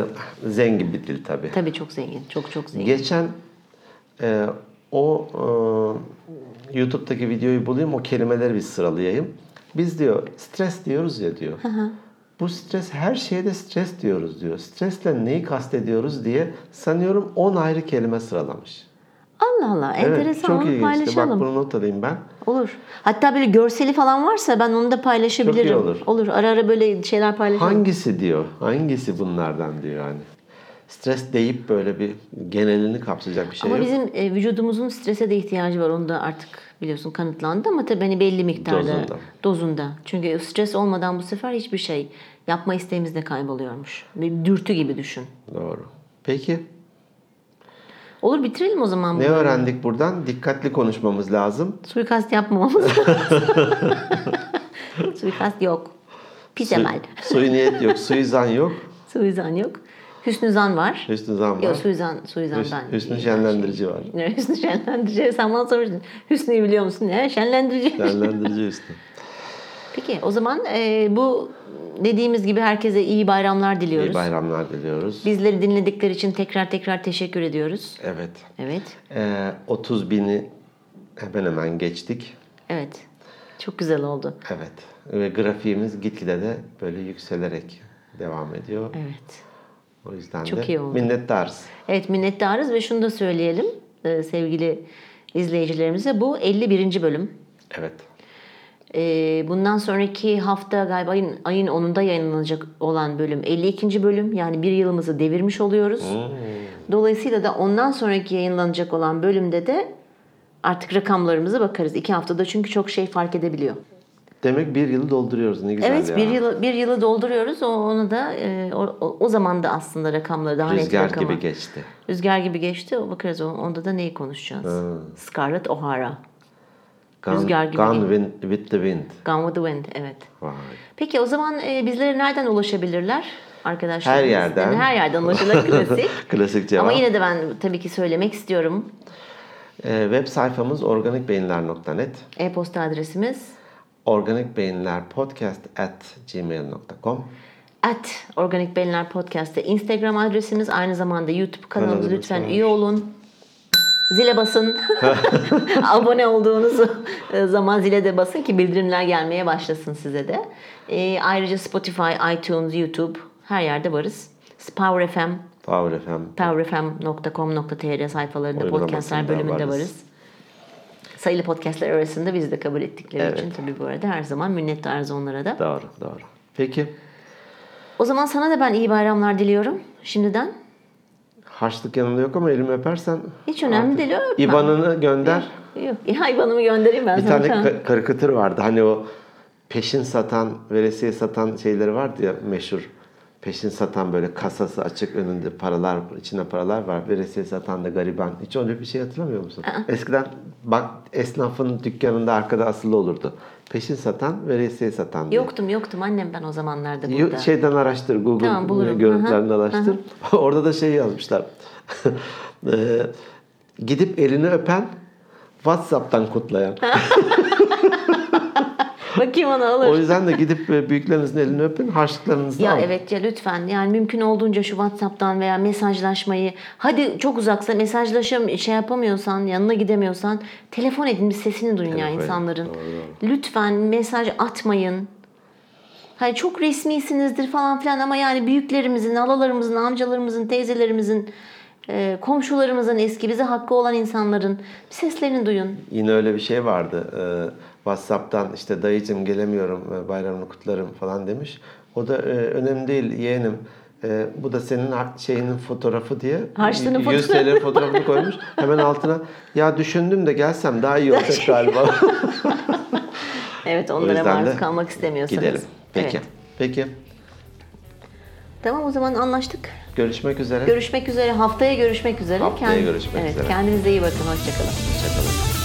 Speaker 1: zengin bir dil tabii.
Speaker 2: Tabii çok zengin. Çok çok zengin.
Speaker 1: Geçen e, o e, YouTube'daki videoyu bulayım, o kelimeleri bir sıralayayım. Biz diyor stres diyoruz ya diyor. Bu stres her şeye de stres diyoruz diyor. Stresle neyi kastediyoruz diye sanıyorum 10 ayrı kelime sıralamış.
Speaker 2: Allah Allah enteresan
Speaker 1: çok
Speaker 2: onu
Speaker 1: ilginçti. Bak
Speaker 2: paylaşalım.
Speaker 1: bunu not alayım ben.
Speaker 2: Olur. Hatta böyle görseli falan varsa ben onu da paylaşabilirim.
Speaker 1: Çok iyi olur.
Speaker 2: Ara ara böyle şeyler paylaşalım.
Speaker 1: Hangisi diyor? Hangisi bunlardan diyor hani. Stres deyip böyle bir genelini kapsayacak bir şey
Speaker 2: Ama
Speaker 1: yok.
Speaker 2: bizim e, vücudumuzun strese de ihtiyacı var. Onu da artık biliyorsun kanıtlandı ama tabii hani belli miktarda
Speaker 1: Dozunda.
Speaker 2: dozunda. Çünkü stres olmadan bu sefer hiçbir şey yapma isteğimiz de kayboluyormuş. Bir dürtü gibi düşün.
Speaker 1: Doğru. Peki
Speaker 2: Olur bitirelim o zaman.
Speaker 1: ne
Speaker 2: bunu.
Speaker 1: öğrendik buradan? Dikkatli konuşmamız lazım.
Speaker 2: Suikast yapmamamız lazım. Suikast yok. Pis emel.
Speaker 1: Suyu niyet yok, suizan yok.
Speaker 2: Suizan yok. Hüsnü zan var.
Speaker 1: Hüsnü zan
Speaker 2: Yok
Speaker 1: var.
Speaker 2: suizan, suizan ben.
Speaker 1: Hüsnü şenlendirici var.
Speaker 2: Ne, Hüsnü şenlendirici. Sen bana sormuştun. Hüsnü'yü biliyor musun? Ne? Şenlendirici.
Speaker 1: Şenlendirici Hüsnü.
Speaker 2: Peki o zaman e, bu dediğimiz gibi herkese iyi bayramlar diliyoruz.
Speaker 1: İyi bayramlar diliyoruz.
Speaker 2: Bizleri dinledikleri için tekrar tekrar teşekkür ediyoruz.
Speaker 1: Evet.
Speaker 2: Evet.
Speaker 1: Ee, 30 bini hemen hemen geçtik.
Speaker 2: Evet. Çok güzel oldu.
Speaker 1: Evet. Ve grafiğimiz gitgide de böyle yükselerek devam ediyor.
Speaker 2: Evet.
Speaker 1: O yüzden
Speaker 2: Çok
Speaker 1: de
Speaker 2: iyi oldu.
Speaker 1: minnettarız.
Speaker 2: Evet minnettarız ve şunu da söyleyelim e, sevgili izleyicilerimize. Bu 51. bölüm.
Speaker 1: Evet.
Speaker 2: E, bundan sonraki hafta galiba ayın, ayın 10'unda yayınlanacak olan bölüm 52. bölüm. Yani bir yılımızı devirmiş oluyoruz.
Speaker 1: Hmm.
Speaker 2: Dolayısıyla da ondan sonraki yayınlanacak olan bölümde de artık rakamlarımıza bakarız. İki haftada çünkü çok şey fark edebiliyor.
Speaker 1: Demek bir yılı dolduruyoruz. Ne güzel
Speaker 2: evet
Speaker 1: ya.
Speaker 2: bir yılı bir yılı dolduruyoruz. O, onu da e, o, o- o zaman da aslında rakamları daha net
Speaker 1: Rüzgar
Speaker 2: rakama-
Speaker 1: gibi geçti.
Speaker 2: Rüzgar gibi geçti. O Bakarız o- onda da neyi konuşacağız? Scarlett O'Hara.
Speaker 1: Gone,
Speaker 2: Rüzgar gibi
Speaker 1: Gone win- with the wind.
Speaker 2: Gone with the Wind. Evet.
Speaker 1: Vay.
Speaker 2: Peki o zaman e, bizlere nereden ulaşabilirler arkadaşlar?
Speaker 1: Her yerden.
Speaker 2: Yani her yerden ulaşılır klasik.
Speaker 1: Klasik cevap.
Speaker 2: Ama yine de ben tabii ki söylemek istiyorum.
Speaker 1: Ee, web sayfamız organikbeyinler.net
Speaker 2: E-posta adresimiz
Speaker 1: organikbeyinlerpodcast@gmail.com
Speaker 2: at Organik Beyinler Podcast'te Instagram adresimiz aynı zamanda YouTube kanalımız
Speaker 1: Kanalı
Speaker 2: lütfen
Speaker 1: lütfen.
Speaker 2: üye olun. Zile basın. Abone olduğunuz zaman zile de basın ki bildirimler gelmeye başlasın size de. Ee, ayrıca Spotify, iTunes, YouTube her yerde varız. Power FM,
Speaker 1: Power FM.
Speaker 2: powerfm.com.tr sayfalarında
Speaker 1: Uygulamasında
Speaker 2: podcastler bölümünde varız.
Speaker 1: varız.
Speaker 2: Sayılı podcastler arasında biz de kabul ettikleri için tabii bu arada her zaman minnettarız onlara da.
Speaker 1: Doğru, doğru. Peki,
Speaker 2: O zaman sana da ben iyi bayramlar diliyorum şimdiden.
Speaker 1: harçlık yanında yok ama elimi öpersen
Speaker 2: Hiç önemli değil öpmem.
Speaker 1: İban'ını gönder.
Speaker 2: Yok. Ya IBAN'ımı göndereyim ben
Speaker 1: Bir
Speaker 2: sana.
Speaker 1: tane
Speaker 2: Tamam.
Speaker 1: ka- karikatür vardı. Hani o peşin satan, veresiye satan şeyleri vardı ya meşhur. Peşin satan böyle kasası açık önünde paralar, içinde paralar var. Veresiye satan da gariban. Hiç öyle bir şey hatırlamıyor musun? Eskiden bak esnafın dükkanında arkada asılı olurdu. Peşin satan, veresiye satan diye.
Speaker 2: Yoktum yoktum annem ben o zamanlarda
Speaker 1: Yo- şey-
Speaker 2: burada.
Speaker 1: Şeyden araştır Google
Speaker 2: Tamam, bulurum.
Speaker 1: görüntülerinden
Speaker 2: Aha,
Speaker 1: araştır. Orada da şey yazmışlar. Ee, gidip elini öpen WhatsApp'tan kutlayan.
Speaker 2: Bakayım ona
Speaker 1: o
Speaker 2: alır.
Speaker 1: yüzden de gidip e, büyüklerinizin elini öpün, harçlıklarınızı
Speaker 2: Ya
Speaker 1: alın.
Speaker 2: evet ya lütfen yani mümkün olduğunca şu WhatsApp'tan veya mesajlaşmayı hadi çok uzaksa mesajlaşam şey yapamıyorsan yanına gidemiyorsan telefon edin bir sesini duyun ya
Speaker 1: Telefon edin,
Speaker 2: insanların.
Speaker 1: doğru,
Speaker 2: Lütfen mesaj atmayın. Hani çok resmisinizdir falan filan ama yani büyüklerimizin, alalarımızın, amcalarımızın, teyzelerimizin, e, komşularımızın eski bize hakkı olan insanların bir seslerini duyun.
Speaker 1: Yine öyle bir şey vardı. Ee, WhatsApp'tan işte dayıcım gelemiyorum, e, bayramını kutlarım falan demiş. O da e, önemli değil yeğenim. E, bu da senin har- şeyinin fotoğrafı diye
Speaker 2: Harçlığının
Speaker 1: 100 TL fotoğrafını koymuş. Hemen altına ya düşündüm de gelsem daha iyi olacak galiba.
Speaker 2: Evet
Speaker 1: O
Speaker 2: onlara
Speaker 1: yüzden
Speaker 2: maruz
Speaker 1: de
Speaker 2: kalmak istemiyorsanız.
Speaker 1: Gidelim. Peki.
Speaker 2: Evet.
Speaker 1: Peki.
Speaker 2: Tamam o zaman anlaştık.
Speaker 1: Görüşmek üzere.
Speaker 2: Görüşmek üzere. Haftaya görüşmek üzere.
Speaker 1: Haftaya
Speaker 2: Kend-
Speaker 1: görüşmek
Speaker 2: evet,
Speaker 1: üzere.
Speaker 2: Kendinize iyi bakın. Hoşçakalın.
Speaker 1: Hoşçakalın.